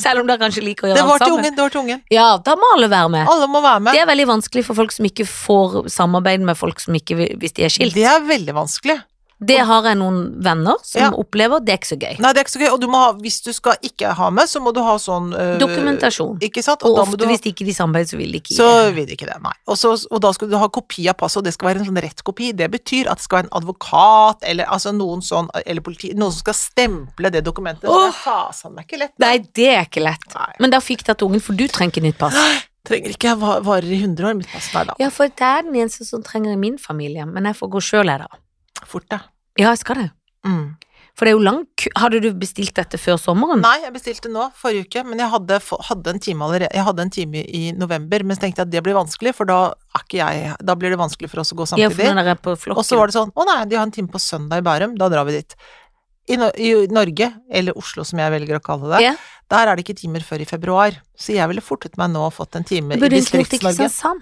A: Selv om dere kanskje liker å gjøre
B: Det var
A: alt
B: til
A: sammen.
B: ungen, det var til ungen.
A: Ja, da må alle være med.
B: Alle må være med.
A: Det er veldig vanskelig for folk som ikke får samarbeid med folk som ikke vil- hvis de er skilt.
B: Det er veldig vanskelig.
A: Det har jeg noen venner som
B: Ja.
A: opplever, det er ikke så gøy.
B: Nei, det er ikke så gøy. Og du må ha, hvis du skal ikke ha med, så må du ha sånn øh,
A: Dokumentasjon.
B: Ikke sant?
A: Og
B: da må
A: ofte
B: du ha-
A: hvis ikke de samarbeider, så vil de ikke
B: Så
A: gi det.
B: vil de ikke det, nei. Og, så, og da skal du ha kopi av passet, og det skal være en sånn rett kopi. Det betyr at det skal være en advokat eller altså noen sånn, eller politi, noen som skal stemple det dokumentet. Så det er fasen meg ikke lett.
A: Nei, det er ikke lett.
B: Nei.
A: Men da fikk dette ungen, for du trenger ikke nytt pass.
B: Trenger ikke jeg va- varer i 100 år, mitt pass der da.
A: Ja, for det er den eneste som trenger i min familie, men jeg får gå sjøl, jeg, da.
B: Fort, da.
A: Ja, jeg skal det.
B: Mm.
A: For det er jo lang kø. Hadde du bestilt dette før sommeren?
B: Nei, jeg bestilte nå, forrige uke, men jeg hadde, få- hadde en time allerede. Jeg hadde en time i november, men så tenkte jeg at det blir vanskelig, for da er ikke jeg Da blir det vanskelig for oss å gå
A: Ja, for
B: samtidig.
A: når dere er på flokken.
B: Og så var det sånn, å nei, de har en time på søndag i Bærum, da drar vi dit. I, no I Norge, eller Oslo som jeg velger å kalle det,
A: Ja.
B: der er det ikke timer før i februar. Så jeg ville fortet meg nå og fått en time i
A: Burde egentlig gjort det i
B: Distrikts-Norge.
A: Kristiansand.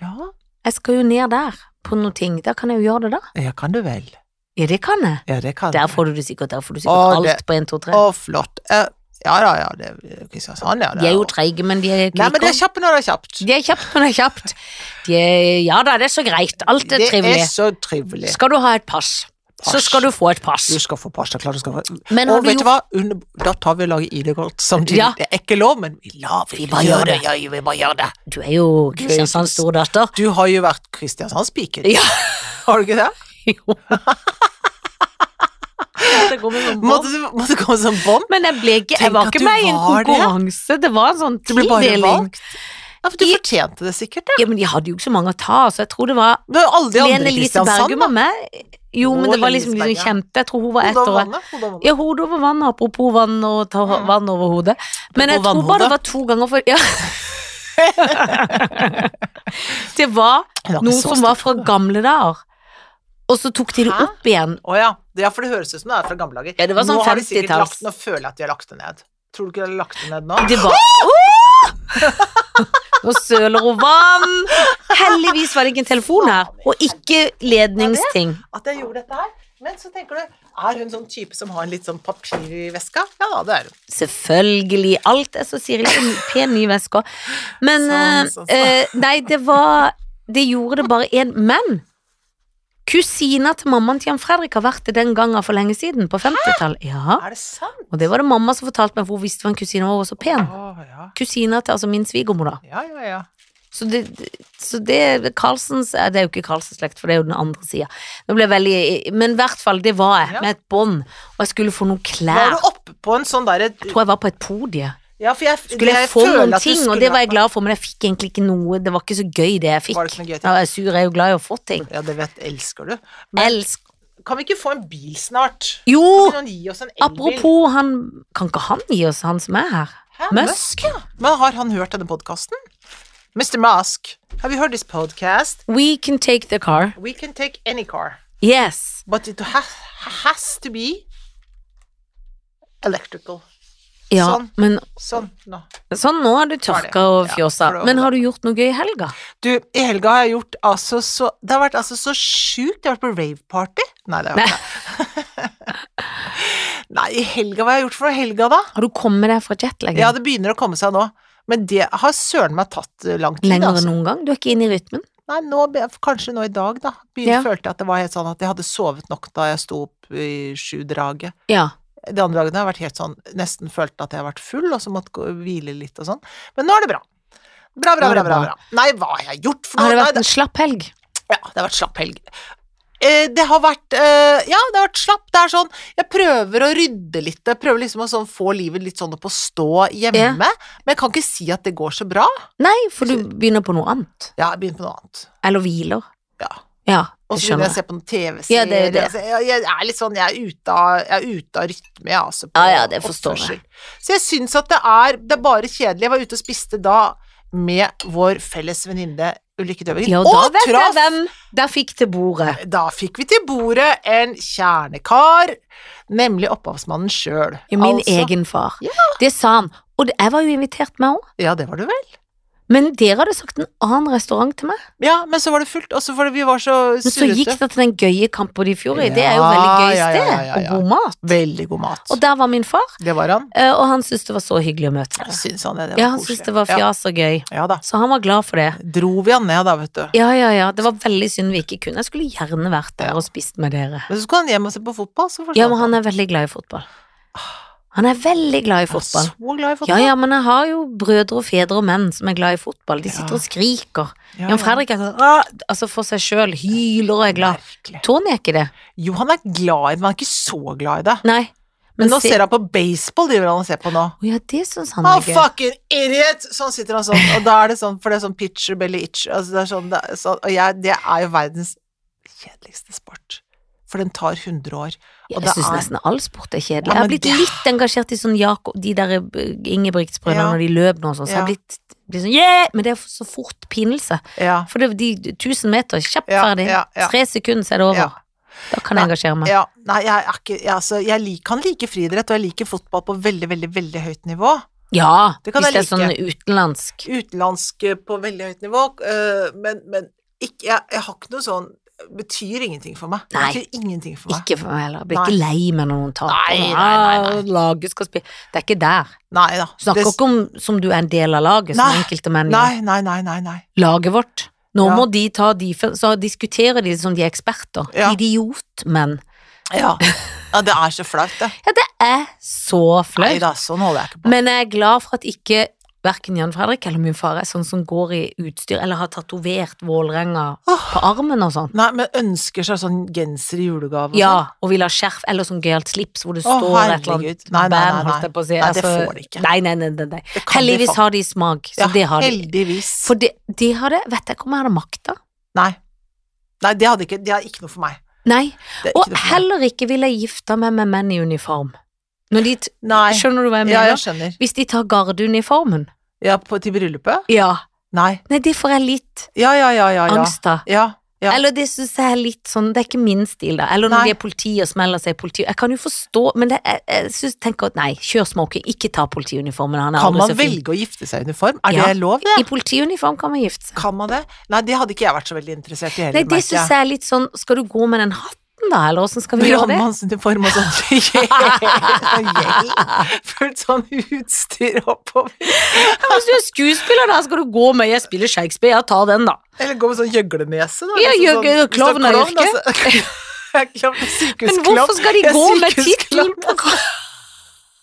B: Ja,
A: sånn. Jeg skal jo ned der på noen ting. Da kan jeg jo gjøre det, da.
B: ja, kan du vel.
A: Ja, det kan jeg.
B: Ja, det kan
A: Der
B: du.
A: får du det sikkert. Der får du
B: Å,
A: sikkert
B: det-
A: alt på 1, 2, 3.
B: Å, flott. Eh, ja da, ja, det er Kristiansand, sånn, ja. det
A: De er jo treige, men de
B: Nei,
A: er
B: men det er
A: kvikke.
B: kjapt når det er kjapt.
A: De er kjapt, men det er kjapt. De er, ja da, det er så greit. Alt er
B: Det
A: trivelig.
B: er så trivelig.
A: Skal du ha et pass, så
B: Pass.
A: skal du få et pass.
B: Du skal få pasta, klart du skal få.
A: Men har
B: Og
A: du
B: vet du
A: gjort
B: hva, Under, da tar vi og lager ID-kort samtidig.
A: Ja.
B: Det er ikke lov, men vi lar vi,
A: bare gjør det.
B: Ja, vi bare gjør det.
A: Du er jo Kristiansands stordatter.
B: Du har jo vært Kristiansandspiken.
A: Ja.
B: Har du ikke det?
A: Jo. Det går med sånn bånd.
B: Måtte du, måtte du komme som bånd?
A: Men jeg ble ikke Jeg
B: Tenk
A: var
B: at
A: ikke
B: du
A: med i en
B: var det.
A: konkurranse. Det var en sånn
B: Du ble bare
A: tildeling.
B: valgt. Ja, for du
A: I-
B: fortjente det sikkert, ja.
A: Ja, men de hadde jo ikke så mange å ta, så jeg tror det var
B: Det var alle de andre
A: Lene
B: i
A: Lise Bergum
B: Kristiansand, da.
A: var med. Jo,
B: Å,
A: men det var
B: Lene Lise
A: liksom de som
B: Bergum.
A: kjente. Jeg tror hun var ett
B: Hodet over
A: år.
B: vannet. Hodet over vannet.
A: Ja, hodet over vann, apropos vann og ta
B: Mm.
A: vann over hodet. Men jeg
B: Apropos
A: tror bare
B: vannhodet.
A: det var to ganger for Ja. det var
B: Det var ikke
A: noen
B: så
A: som var
B: stort.
A: fra gamle dager, og så tok de det
B: Hæ?
A: opp igjen.
B: Å ja. Det er for det høres ut som det er fra gamle dager.
A: Ja, det var sånn
B: nå har de sikkert
A: 50-talls.
B: lagt Nå føler jeg at de har lagt det ned. Tror du ikke de har lagt det ned nå?
A: Det var Nå søler hun vann. Heldigvis var det ikke en telefon her, og ikke ledningsting.
B: At jeg gjorde dette her? Men så tenker du, er hun sånn type som har en litt sånn papir i veska? Ja da, det er hun.
A: Selvfølgelig. Alt er så Siri en pen ny veske. Men
B: Sånn, sånn, sånn.
A: eh, Nei, det var Det gjorde det bare én. Men kusina til mammaen til Jan Fredrik har vært det den gangen for lenge siden, på 50-tallet. Ja.
B: Er det sant?
A: Og det var det mamma som fortalte meg, for hun visste hva en kusine var, hun var så pen.
B: Å ja.
A: Kusina til altså min svigermor, da.
B: Ja, ja, ja.
A: Så det, det- så det Karlsens eh, Det er jo ikke Karlsens slekt, for det er jo den andre sida. Nå ble jeg veldig Men i hvert fall, det var jeg,
B: Ja.
A: med et bånd. Og jeg skulle få noen
B: Var
A: klær.
B: du oppe på en sånn derre
A: Jeg tror jeg var på et podie.
B: ja, for jeg-
A: skulle jeg,
B: jeg
A: få
B: føler
A: noen
B: at du
A: ting, og
B: skulle
A: det var
B: vært
A: jeg glad for, men jeg fikk egentlig ikke noe. Det var ikke så gøy, det jeg fikk.
B: Var det ikke noe gøy til?
A: Ja, jeg er sur, jeg er jo glad i å få ting.
B: Ja, det vet, elsker du. Men
A: Elsk.
B: kan vi ikke få en bil snart?
A: Jo,
B: Kan noen gi oss en elbil?
A: apropos han Kan ikke han gi oss han som er her?
B: Hæ,
A: Musk?
B: Men har han hørt denne podkasten? Mr. Musk, have you heard this podcast?
A: We can take the car.
B: We can take any car,
A: Yes.
B: but it has, has to be electrical.
A: Ja,
B: Sånn.
A: men
B: Sånn nå.
A: sånn nå har du tørka og
B: Ja,
A: fjosa.
B: for det-
A: Men har du gjort noe gøy i helga?
B: Du, i helga har jeg gjort altså så Det har vært altså så sjukt. Jeg har vært på raveparty. Nei, det har jeg ikke. Nei, i helga hva har jeg gjort for noe i helga, da?
A: Har du kommet deg fra jetlagen?
B: Ja, det begynner å komme seg nå. Men det har søren meg tatt eh, lang tid.
A: Lenger
B: altså.
A: enn noen gang? Du er ikke inne i rytmen?
B: Nei, nå, be- kanskje nå i dag, da. Begynte,
A: Ja.
B: Følte jeg at det var helt sånn at jeg hadde sovet nok da jeg sto opp i sju-draget.
A: Ja.
B: De andre dagene har jeg vært helt sånn, nesten følt at jeg har vært full, og så måtte gå, hvile litt og sånn. Men nå er det bra. Bra, bra,
A: Nå er
B: bra, bra.
A: det bra.
B: bra. Nei, hva har jeg gjort for noe?
A: Har det
B: Nei,
A: vært en slapp helg?
B: ja, det har vært slapp helg. Eh, Det har vært eh, Ja, det har vært slapp. Det er sånn Jeg prøver å rydde litt. Jeg prøver liksom å sånn få livet litt sånn opp å stå hjemme.
A: Ja.
B: Men jeg kan ikke si at det går så bra.
A: Nei, for du begynner på noe annet.
B: Ja, jeg begynner på noe annet.
A: Eller hviler.
B: Ja.
A: Ja,
B: Og så begynner
A: det skjønner
B: jeg å
A: jeg.
B: se på noen
A: Ja, det
B: TV-serier.
A: er jo det.
B: Altså, jeg, jeg er litt sånn Jeg er ute av, jeg er ute av rytme, jeg, altså. på
A: Ja, ja, det forstår
B: oppførsel. Så jeg syns at det er Det er bare kjedelig. Jeg var ute og spiste da med vår felles venninne Ulrikke Døvik.
A: Ja, og da vet jeg hvem der fikk til bordet.
B: Da fikk vi til bordet en kjernekar, nemlig opphavsmannen sjøl. Altså,
A: Min egen far.
B: Ja.
A: Det sa han. Og det- jeg var jo invitert, meg òg.
B: Ja, det var du vel?
A: Men dere hadde sagt en annen restaurant til meg.
B: Ja, men så var det fullt, og så var det, vi var så
A: Men så gikk
B: surrete.
A: det til den gøye Campo di Fiori. det er jo veldig
B: Ja,
A: gøy
B: ja,
A: sted,
B: ja, ja, ja.
A: og god mat.
B: Veldig god mat.
A: Og der var min far,
B: Det var han.
A: eh, og han syntes det var så hyggelig å møte meg.
B: Syns han det? det var
A: Ja, han
B: koselig.
A: syntes det var fjas og gøy,
B: Ja, ja da.
A: så han var glad for det.
B: Dro vi han ned da, vet du.
A: Ja, ja, ja, det var veldig synd vi ikke kunne. Jeg skulle gjerne vært der og spist med dere.
B: Men så skulle han hjem og se på fotball, så forsvant
A: Ja, men han er veldig glad i fotball. Han er veldig glad i
B: Jeg er
A: fotball.
B: Så glad i fotball.
A: Ja, ja, men jeg har jo brødre og fedre og menn som er glad i fotball. De sitter
B: Ja.
A: og skriker.
B: Ja, ja.
A: Jan Fredrik er sånn «Åh!» Altså for seg sjøl. Hyler og er glad.
B: Merkelig.
A: Tony er ikke det.
B: Jo, han er glad i det, men han er ikke så glad i det.
A: Nei.
B: Men nå
A: se-
B: ser han på baseball, driver han og ser på nå.
A: Å ja, det syns han
B: Oh,
A: er gøy.
B: fucking idiot! Sånn sitter han sånn, og da er det sånn, for det er sånn pitcher belly itch, altså det er sånn, det er sånn og jeg, det er jo verdens kjedeligste sport. For den tar 100 år. og
A: Jeg
B: det
A: syns
B: er-
A: nesten all sport er kjedelig.
B: Ja,
A: Jeg har
B: men
A: blitt
B: det-
A: litt engasjert i sånn Jakob De der Ingebrigtsbrødrene
B: Ja.
A: når de løp nå og sånn, så jeg har
B: Ja.
A: blitt, blitt sånn yeah! Men det er så fort pinelse.
B: Ja.
A: For det, de 1000 meter, kjapt
B: Ja,
A: ferdig.
B: ja, ja.
A: Tre sekunder, så er det over.
B: Ja.
A: Da kan jeg engasjere meg.
B: ja. Nei, jeg er ikke jeg, altså, Jeg lik, kan like friidrett, og jeg liker fotball på veldig, veldig, veldig høyt nivå.
A: Ja,
B: Det kan
A: hvis det
B: jeg
A: er sånn utenlandsk.
B: Utenlandsk eh, på veldig høyt nivå, eh, men, men ikke, jeg, jeg har ikke noe sånn Betyr ingenting for meg.
A: Nei.
B: Betyr ingenting for meg.
A: Ikke for meg heller. Jeg Blir ikke lei meg når noen taper.
B: Nei, nei, nei, nei.
A: Ah, Laget skal spille Det er ikke der.
B: Nei da.
A: Snakker
B: Det-
A: ikke om som du er en del av laget, som
B: Nei,
A: enkelte menn. gjør.
B: Nei, nei, nei, nei, nei.
A: Laget vårt. Nå
B: Ja.
A: må de ta de før- Så diskuterer de som de er eksperter.
B: Ja.
A: Idiotmenn.
B: Ja. ja, det er så flaut, det.
A: Ja, det er så
B: Nei
A: flaut.
B: da, sånn holder jeg ikke på.
A: Men jeg er glad for at ikke verken Jan Fredrik eller min far er sånn som går i utstyr, eller har tatovert Vålerenga
B: Åh.
A: på armen og sånn.
B: Nei, men ønsker seg sånn genser i julegave og sånn.
A: Ja, og vil ha skjerf eller sånn gøyalt slips hvor det
B: Å,
A: står et eller
B: herregud.
A: annet
B: Nei, nei,
A: band,
B: nei, nei.
A: holdt jeg på å si. Altså,
B: Nei, det får de ikke.
A: Nei, nei, nei, nei, nei.
B: Det kan de
A: Heldigvis
B: faen-
A: har de smak, så
B: Ja,
A: det har de.
B: heldigvis.
A: For det, de hadde, vet jeg ikke om jeg hadde makta.
B: Nei. Nei, det hadde ikke Det er ikke noe for meg.
A: Nei,
B: Det er
A: og
B: ikke noe for meg.
A: heller ikke ville jeg gifta meg med menn i uniform. Når de, t-
B: Nei.
A: skjønner du hva jeg
B: Ja,
A: mener?
B: jeg skjønner.
A: Hvis de tar gardeuniformen.
B: Ja, på, til bryllupet?
A: Ja.
B: Nei.
A: Nei, det får jeg litt
B: Ja, ja, ja, ja. ja.
A: angst av.
B: Ja, ja.
A: Eller det syns jeg er litt sånn Det er ikke min stil, da. Eller når
B: Nei.
A: de er politi og smeller seg i politi. Jeg kan jo forstå, men det, jeg, jeg synes, tenker at nei, kjør smoking, ikke ta politiuniformen. Han er
B: Kan
A: aldri
B: man
A: så fin.
B: velge å gifte seg i uniform? Er
A: Ja.
B: det lov, det?
A: I politiuniform kan man gifte seg.
B: Kan man det? Nei, det hadde ikke jeg vært så veldig interessert i heller,
A: Nei, det syns jeg er litt sånn Skal du gå med den hatten, da, eller åssen skal vi gjøre det?
B: Brannmannsuniform og sånt. Sånn hjelm. Fullt sånn utstyr oppover.
A: Ja, Hvis du er skuespiller, da, skal du gå med 'Jeg spiller Shakespeare', ja, ta den, da.
B: Eller gå med sånn gjøglenese, da. Liksom
A: Ja,
B: sånn-
A: gjøgle-
B: hvis du er
A: klovn er
B: klovn,
A: yrke.
B: altså. Ja, men
A: Men
B: sykehusklovn.
A: hvorfor skal de
B: Jeg er
A: gå med tittelen
B: sykehusklovn.
A: på kroppen?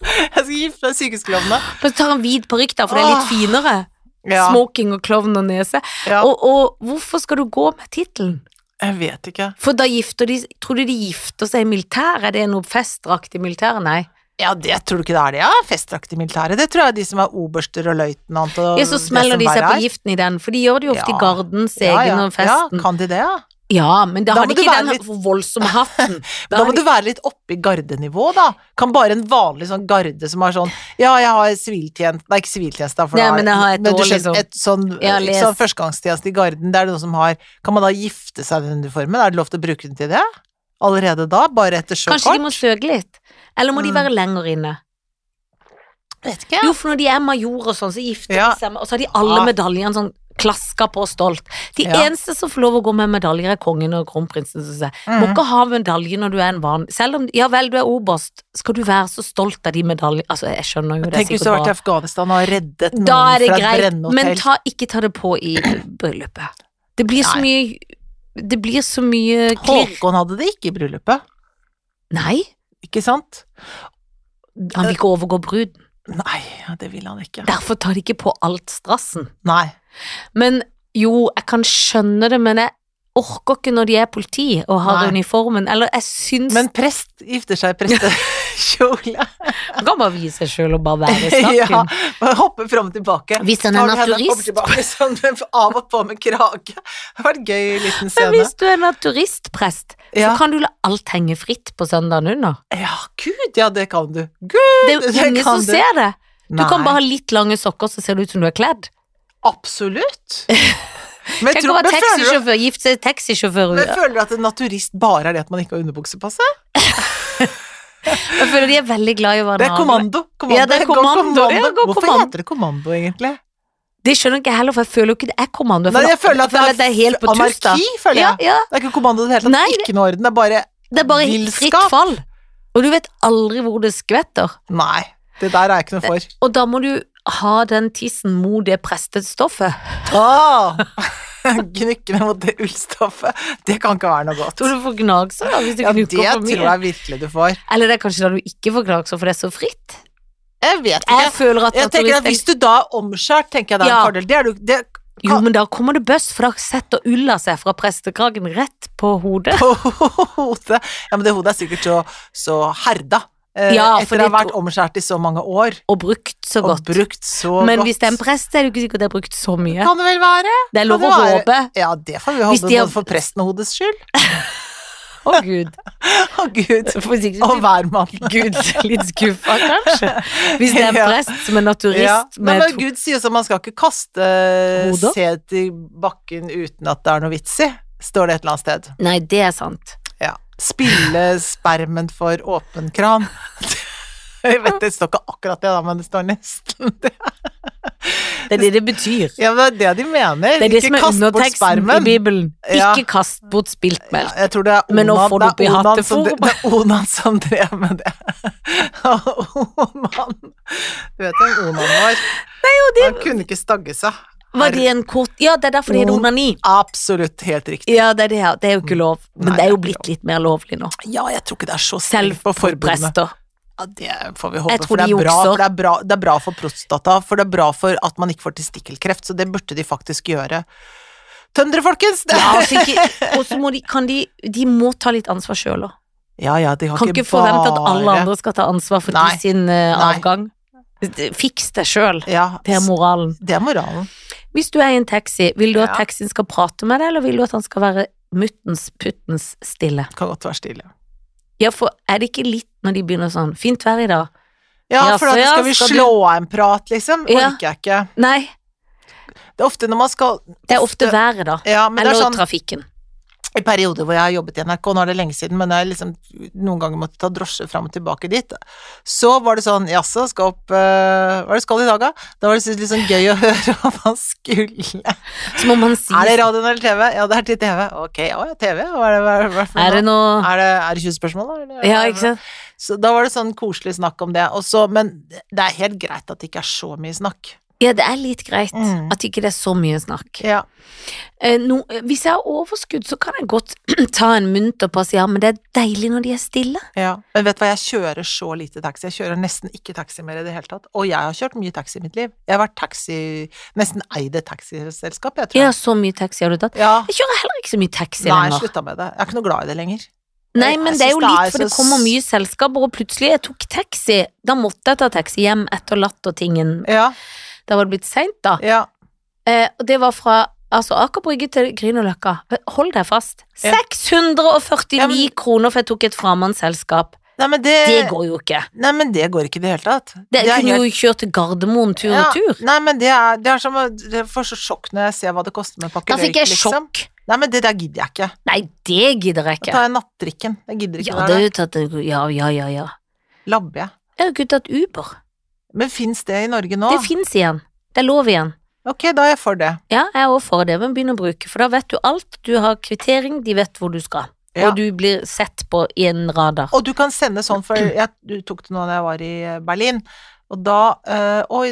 B: Jeg skal gifte meg med sykehusklovnene.
A: Så tar han hvit parykk, da, for det er litt
B: Åh.
A: finere.
B: Ja,
A: Smoking og klovn og nese.
B: ja.
A: Og, og hvorfor skal du gå med tittelen?
B: Jeg vet ikke.
A: For da gifter de Tror du de gifter seg i militæret? Er det noe festdrakt i militæret? Nei.
B: Ja, det tror du ikke det er det, ja. Festdrakt i militæret. Det tror jeg er de som er oberster og løytnant og
A: Ja, så
B: det
A: smeller
B: som
A: de seg
B: verre
A: på
B: er.
A: giften i den, for de gjør det jo ofte
B: Ja.
A: i garden,
B: Ja,
A: segen
B: ja.
A: og festen.
B: Ja, kan de det, ja?
A: Ja, men da,
B: Da
A: har
B: må
A: de
B: du
A: ikke
B: være
A: den voldsomme hatten.
B: Da
A: Da har
B: må
A: de-
B: du være litt oppe i gardenivå, da. Kan bare en vanlig sånn garde som har sånn Ja, jeg har siviltjeneste Nei, ikke siviltjeneste, da, for
A: Nei,
B: da er
A: men
B: det
A: jeg har et
B: Men du
A: år, liksom.
B: skjønner, et sånn,
A: Ja, les.
B: sånn førstegangstjeneste i garden, det er det noen som har Kan man da gifte seg i den uniformen? Er det lov til å bruke den til det? Allerede da? Bare etter
A: Kanskje de
B: sjøkort?
A: må søke litt? Eller må de
B: Mm.
A: være lenger inne?
B: Vet ikke.
A: Jo, for når de er major og sånn, så gifter
B: Ja.
A: de seg, med- og så har de alle
B: Ja.
A: medaljene sånn klaska på stolt. De
B: Ja.
A: eneste som får lov å gå med medaljer, er kongen og kronprinsen, synes jeg.
B: Mm.
A: Må ikke ha medalje når du er en vanlig Selv om, ja vel, du er oberst, skal du være så stolt av de medaljene Altså, jeg skjønner jo det,
B: Tenk hvis du har vært i Afghanistan og har reddet noen
A: Da er det
B: fra et
A: greit, men
B: brennehotell.
A: ta, ikke ta det på i bryllupet. Det blir så
B: Nei.
A: mye Det blir så mye klirr.
B: Håkon hadde det ikke i bryllupet,
A: Nei,
B: ikke sant?
A: han vil ikke overgå bruden.
B: Nei, ja, det ville han ikke.
A: Derfor tar de ikke på alt strassen.
B: Nei.
A: Men jo, jeg kan skjønne det, men jeg orker ikke når de er politi og har
B: Nei.
A: uniformen. Eller jeg syns
B: Men prest gifter seg i prestekjole.
A: Han kan bare vise seg sjøl og bare være i
B: ja,
A: saken.
B: bare hoppe fram og tilbake.
A: Hvis han er
B: Tar du henne, kommer
A: naturist.
B: tilbake sånn med av og på med krage. Det har vært en gøy liten
A: Men
B: scene.
A: hvis du er naturistprest, så
B: Ja.
A: kan du la alt henge fritt på søndagen under.
B: Ja, gud, ja, det kan du. Gud,
A: Det er jo
B: det
A: ingen
B: kan
A: som
B: du.
A: ser det. Du
B: Nei,
A: kan bare ha litt lange sokker, så ser det ut som du er kledd.
B: Absolutt. Men jeg
A: Tenk å
B: tror,
A: være
B: men føler,
A: taxisjåfør, gifte seg
B: du,
A: taxisjåfør.
B: men føler du at en naturist bare er det at man ikke har underbukse på seg?
A: Jeg føler de er veldig glad i å være
B: Det er
A: naboer.
B: kommando. kommando.
A: Ja, det er
B: Gå
A: kommando. Ja, gå
B: Hvorfor
A: kommando.
B: heter det kommando, egentlig?
A: Det skjønner ikke jeg heller, for jeg føler jo ikke det er kommando.
B: Nei, jeg føler at det er,
A: det er helt på tuss, da.
B: anarki, føler
A: Ja,
B: jeg.
A: ja.
B: Det er ikke kommando i det hele tatt.
A: Nei.
B: Ikke noe orden. Det er bare
A: Det er bare
B: Villskap.
A: fritt fall. Og du vet aldri hvor det skvetter.
B: Nei, det der er jeg ikke noe for.
A: Og da må du ha den tissen mot det prestestoffet.
B: Ah! Gnukkene mot det ullstoffet. Det kan ikke være noe godt.
A: Tror du får gnagsår da, hvis du
B: Ja, det
A: gnukker for
B: tror
A: mye?
B: jeg virkelig du får.
A: Eller det er kanskje da du ikke får gnagsår, for det er så fritt.
B: Jeg vet
A: Jeg
B: ikke.
A: føler at
B: Jeg tenker at
A: naturlig-
B: Hvis du da er omskjært, tenker jeg det er
A: Ja.
B: en fordel. Det er du, det,
A: Jo, men da kommer det bøss, for da setter ulla seg fra prestekragen rett på hodet.
B: på hodet. Ja, men det hodet er sikkert så, så herda. eh,
A: Ja, for
B: etter å ha
A: det-
B: vært omskjært i så mange år
A: Og brukt så
B: og
A: godt.
B: brukt så
A: Men
B: godt.
A: hvis det er en prest, er det jo ikke sikkert det er brukt så mye.
B: Kan det vel være?
A: Det er lov
B: kan
A: å
B: det være-
A: håpe.
B: Ja, det får vi
A: Hvis
B: holde
A: de har-
B: både for presten og hodets skyld.
A: Å gud.
B: Å gud.
A: For sikkert
B: Og hver mann.
A: Gud, litt skuffa kanskje. Hvis det er en
B: Ja.
A: prest som er
B: Ja.
A: naturist
B: Nei,
A: med
B: men
A: to
B: Gud sier også at man skal ikke kaste eh,
A: Hodet?
B: sæd i bakken uten at det er noe vits i, står det et eller annet sted.
A: Nei, det er sant.
B: Ja. Spille spermen for åpen kran. Jeg vet det står ikke akkurat det, da, men det står nesten det.
A: Det er det det betyr.
B: Ja, men det er det de mener.
A: Det er det som
B: ikke
A: er
B: kast bort
A: underteksten i
B: spermen.
A: Bibelen.
B: Ja.
A: Ikke kast bort spilt melk.
B: Jeg tror det er
A: Men nå
B: Onan,
A: får du
B: det er
A: opp i
B: Onan
A: hatteform.
B: som dre- det er Onan som drev med det. Onan Du vet hvem Onan var? Han kunne ikke stagge seg.
A: Var det en kort Ja, det er derfor det heter
B: Mm.
A: onani.
B: Absolutt helt riktig.
A: Ja, det er det. her. Det er jo ikke lov. Men
B: Nei,
A: det er jo
B: det er ikke
A: blitt litt mer lovlig nå.
B: Ja, jeg tror ikke det er så
A: Selv
B: strengt på forbudene.
A: prester.
B: Ja, det får vi
A: Jeg
B: håpe,
A: tror
B: for det
A: de
B: er, bra,
A: jukser.
B: for det, er bra, det er bra for prostata, for det er bra for at man ikke får testikkelkreft, så det burde de faktisk gjøre. Tøndere, folkens! Det.
A: Ja, altså ikke Og så må de Kan de De må ta litt ansvar sjøl òg.
B: Ja, ja, de har
A: Kan ikke forvente at alle
B: bare-
A: andre skal ta ansvar for
B: Nei.
A: de sin eh,
B: Nei.
A: avgang. Det- Fiks det sjøl.
B: Ja,
A: Det er moralen.
B: det er moralen.
A: Hvis du er i en taxi, vil du at
B: Ja.
A: taxien skal prate med deg, eller vil du at han skal være muttens puttens stille?
B: Kan godt være stille.
A: Ja, for er det ikke litt når de begynner sånn Fint vær i dag.
B: Ja,
A: Ja,
B: for
A: så
B: at
A: ja,
B: skal vi
A: skal du-
B: slå av en prat, liksom?
A: Ja.
B: Orker jeg ikke.
A: Nei,
B: Det er ofte når man skal
A: det er ofte været, da.
B: Ja, men det
A: Eller
B: er sånn
A: trafikken.
B: i perioder hvor jeg har jobbet i NRK, nå er det lenge siden, men jeg liksom noen ganger måtte ta drosje fram og tilbake dit, så var det sånn, jaså, skal opp, eh, hva er det du skal i dag da? Da var det litt sånn gøy å høre hva man skulle.
A: Så må man si
B: Er det radioen eller TV? Ja, det er til TV. Ok, ja, ja, TV, hva er det, hva er det, hva er det for noe?
A: Er det noe
B: Er det, er det 20 spørsmål da? eller?
A: Ja, ikke sant?
B: Så da var det sånn koselig snakk om det, og så, men det er helt greit at det ikke er så mye snakk.
A: Ja, det er litt greit
B: Mm.
A: at ikke det er så mye snakk.
B: Ja,
A: Eh, no, eh, hvis jeg har overskudd, så kan jeg godt ta en munter på og si ja, men det er deilig når de er stille.
B: ja. Men vet du hva, jeg kjører så lite taxi. Jeg kjører nesten ikke taxi mer i det hele tatt. Og jeg har kjørt mye taxi i mitt liv. Jeg har vært taxi, nesten eide taxiselskap, jeg tror.
A: Ja, så mye taxi har du tatt.
B: Ja.
A: Jeg kjører heller ikke så mye taxi
B: Nei, jeg
A: lenger.
B: slutta med det. Jeg er ikke noe glad i det lenger.
A: Nei,
B: Jeg
A: men det er jo
B: synes det er
A: litt, for det
B: så
A: kommer
B: s-
A: mye selskaper, og plutselig jeg tok taxi. Da måtte jeg ta taxi hjem etter latter-tingen.
B: Ja,
A: Da var det blitt seint, da.
B: ja.
A: Eh, og det var fra altså, Aker Brygge til Grünerløkka. Hold deg fast.
B: Ja.
A: 649
B: Ja, men-
A: kroner for jeg tok et fremmedselskap.
B: Nei, men det,
A: Det går jo ikke.
B: Nei, men det går ikke i det hele tatt.
A: Det,
B: er
A: kunne
B: helt-
A: jo kjørt til Gardermoen tur og
B: Ja,
A: tur.
B: Nei, men det er, det er som å- Jeg får så sjokk når jeg ser hva det koster med en pakke
A: Da fikk jeg
B: liksom.
A: sjokk.
B: Nei, men det der gidder jeg ikke.
A: Nei, det gidder jeg
B: Da
A: ikke.
B: tar jeg nattdrikken. Jeg gidder ikke.
A: Ja,
B: å
A: det
B: være der.
A: er jo tatt en Ja, ja, ja, ja.
B: Labber jeg.
A: Jeg har jo ikke tatt Uber.
B: Men fins det i Norge nå?
A: Det fins igjen. Det er lov igjen.
B: Ok, da er jeg for det.
A: Ja, jeg er også for det, men begynn å bruke, for da vet du alt. Du har kvittering, de vet hvor du skal.
B: Ja.
A: Og du blir sett på i en radar.
B: Og du kan sende sånn, for jeg du tok det nå da jeg var i eh, Berlin, og da øh, Og i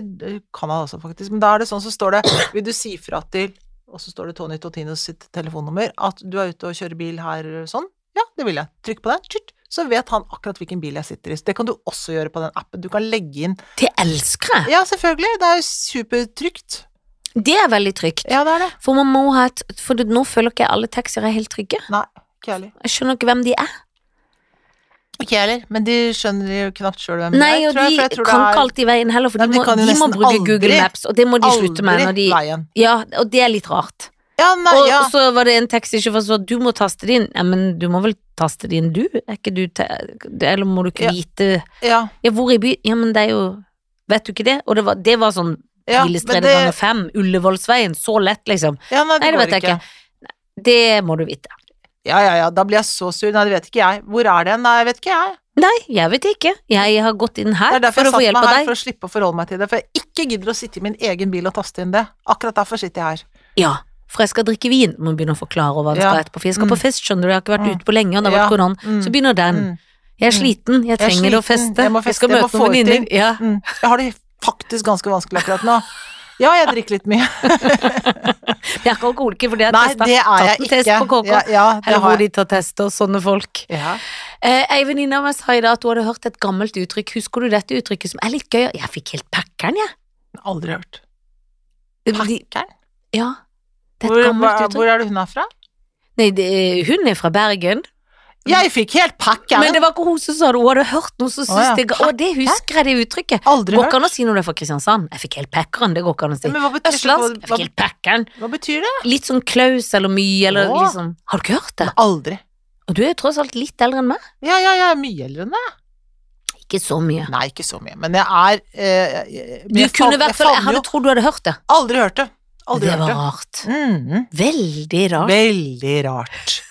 B: Canada også, faktisk. Men da er det sånn, så står det Vil du si fra til Og så står det Tony Totinos sitt telefonnummer at du er ute og kjører bil her sånn. Ja, det vil jeg. Trykk på den. Tjut. Så vet han akkurat hvilken bil jeg sitter i. Så Det kan du også gjøre på den appen. Du kan legge inn
A: Det elsker jeg!
B: Ja, selvfølgelig. Det er jo supertrygt.
A: Det er veldig trygt.
B: Ja, det er det.
A: For man må ha et For det- nå føler ikke jeg alle taxier er helt trygge.
B: Nei, ikke jeg heller.
A: Jeg skjønner ikke hvem de er.
B: Ikke jeg heller. Men de skjønner jo knapt sjøl hvem
A: Nei,
B: det
A: og
B: er, tror jeg.
A: de
B: For jeg tror
A: kan ikke
B: det
A: alltid veien heller, for
B: Nei,
A: de
B: de
A: må,
B: kan jo
A: de må
B: nesten
A: bruke Google
B: aldri-
A: Maps, og det må de
B: er
A: slutte med når
B: aldri
A: de
B: veien.
A: Ja, og det er litt rart.
B: Ja, nei,
A: Og,
B: ja.
A: og så var det en taxisjåfør som sa du må taste det inn. Ja, men du må vel taste det inn, du? Er ikke du ta Eller må du ikke
B: Ja.
A: vite
B: ja.
A: Ja, hvor i by? Ja, men det er jo Vet du ikke det? Og det var, det var sånn
B: Ja, men
A: Pilestredet
B: det,
A: ganger fem, Ullevålsveien, så lett, liksom.
B: ja, nei, det,
A: Nei, det
B: går
A: vet jeg
B: ikke.
A: ikke. Det må du vite.
B: Ja, ja, ja, da blir jeg så sur. Nei, det vet ikke jeg. Hvor er den? Nei, jeg vet ikke jeg.
A: Nei, jeg vet ikke. Jeg har gått inn
B: Det
A: her
B: er derfor jeg
A: for å få
B: satt
A: hjelp
B: meg
A: av
B: her
A: deg.
B: for å slippe å forholde meg til det, for jeg ikke gidder å sitte i min egen bil og taste inn det. Akkurat derfor sitter jeg her.
A: Ja, for jeg skal drikke vin. Må begynne å forklare hva det skal
B: Ja.
A: etterpå. For jeg skal på
B: Mm.
A: fest, skjønner du. Jeg har ikke vært
B: Mm.
A: ute på lenge, og det har vært
B: Ja.
A: korona.
B: Mm.
A: Så begynner den.
B: Mm.
A: Jeg er sliten, jeg
B: er sliten,
A: trenger å feste.
B: jeg må
A: Jeg
B: feste,
A: skal
B: jeg
A: møte
B: må
A: noen
B: få det
A: venninner. Ja.
B: Mm. Jeg har det faktisk ganske vanskelig akkurat nå. Ja, jeg drikker litt mye.
A: Jeg er ikke alkoholiker, for det har
B: Nei,
A: jeg
B: det
A: testet.
B: er
A: Tatt
B: jeg
A: en
B: ikke.
A: test på KK.
B: Ja, ja, det
A: Eller hvor
B: har jeg.
A: de tar tester, sånne folk.
B: Ja.
A: Eh, Ei venninne av meg sa i dag at hun hadde hørt et gammelt uttrykk. Husker du dette uttrykket som er litt gøy? Jeg fikk helt packeren, jeg.
B: Aldri hørt.
A: De-
B: Packeren?
A: Ja. Det er
B: Hvor,
A: et
B: hva-
A: gammelt uttrykk.
B: hvor er det hun er fra?
A: Nei, det, hun er fra Bergen.
B: Jeg fikk helt packeren!
A: Mm. Men det var ikke hun som sa det, hun hadde hørt noen som
B: Å, ja.
A: syntes det Å, det husker jeg, det uttrykket.
B: Aldri
A: Går
B: hørt.
A: ikke an å si når du er fra Kristiansand. Jeg fikk helt packeren, det går ikke an å si.
B: Men hva betyr,
A: Østlandsk,
B: hva,
A: jeg fikk helt packeren.
B: hva betyr det?
A: Litt sånn klaus eller mye, eller
B: Å.
A: liksom Har du ikke hørt det?
B: Aldri.
A: Og du er jo tross alt litt eldre enn meg.
B: Ja, ja, jeg er mye eldre enn deg.
A: Ikke så mye.
B: Nei, ikke så mye, men jeg er eh, jeg- men
A: Du
B: jeg
A: kunne
B: fav-
A: i hvert
B: jeg
A: fall Jeg
B: favner jo.
A: hadde trodd du hadde hørt det.
B: Aldri hørt det. Aldri
A: Det
B: hørt
A: var
B: det.
A: rart.
B: Mhm.
A: Veldig rart.
B: Veldig rart.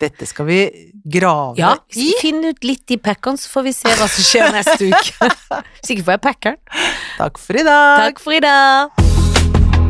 B: Dette skal vi grave
A: Ja,
B: i.
A: finn ut litt i packeren, så får vi se hva som skjer neste uke. Sikkert får jeg packeren.
B: Takk for i dag.
A: Takk for i dag.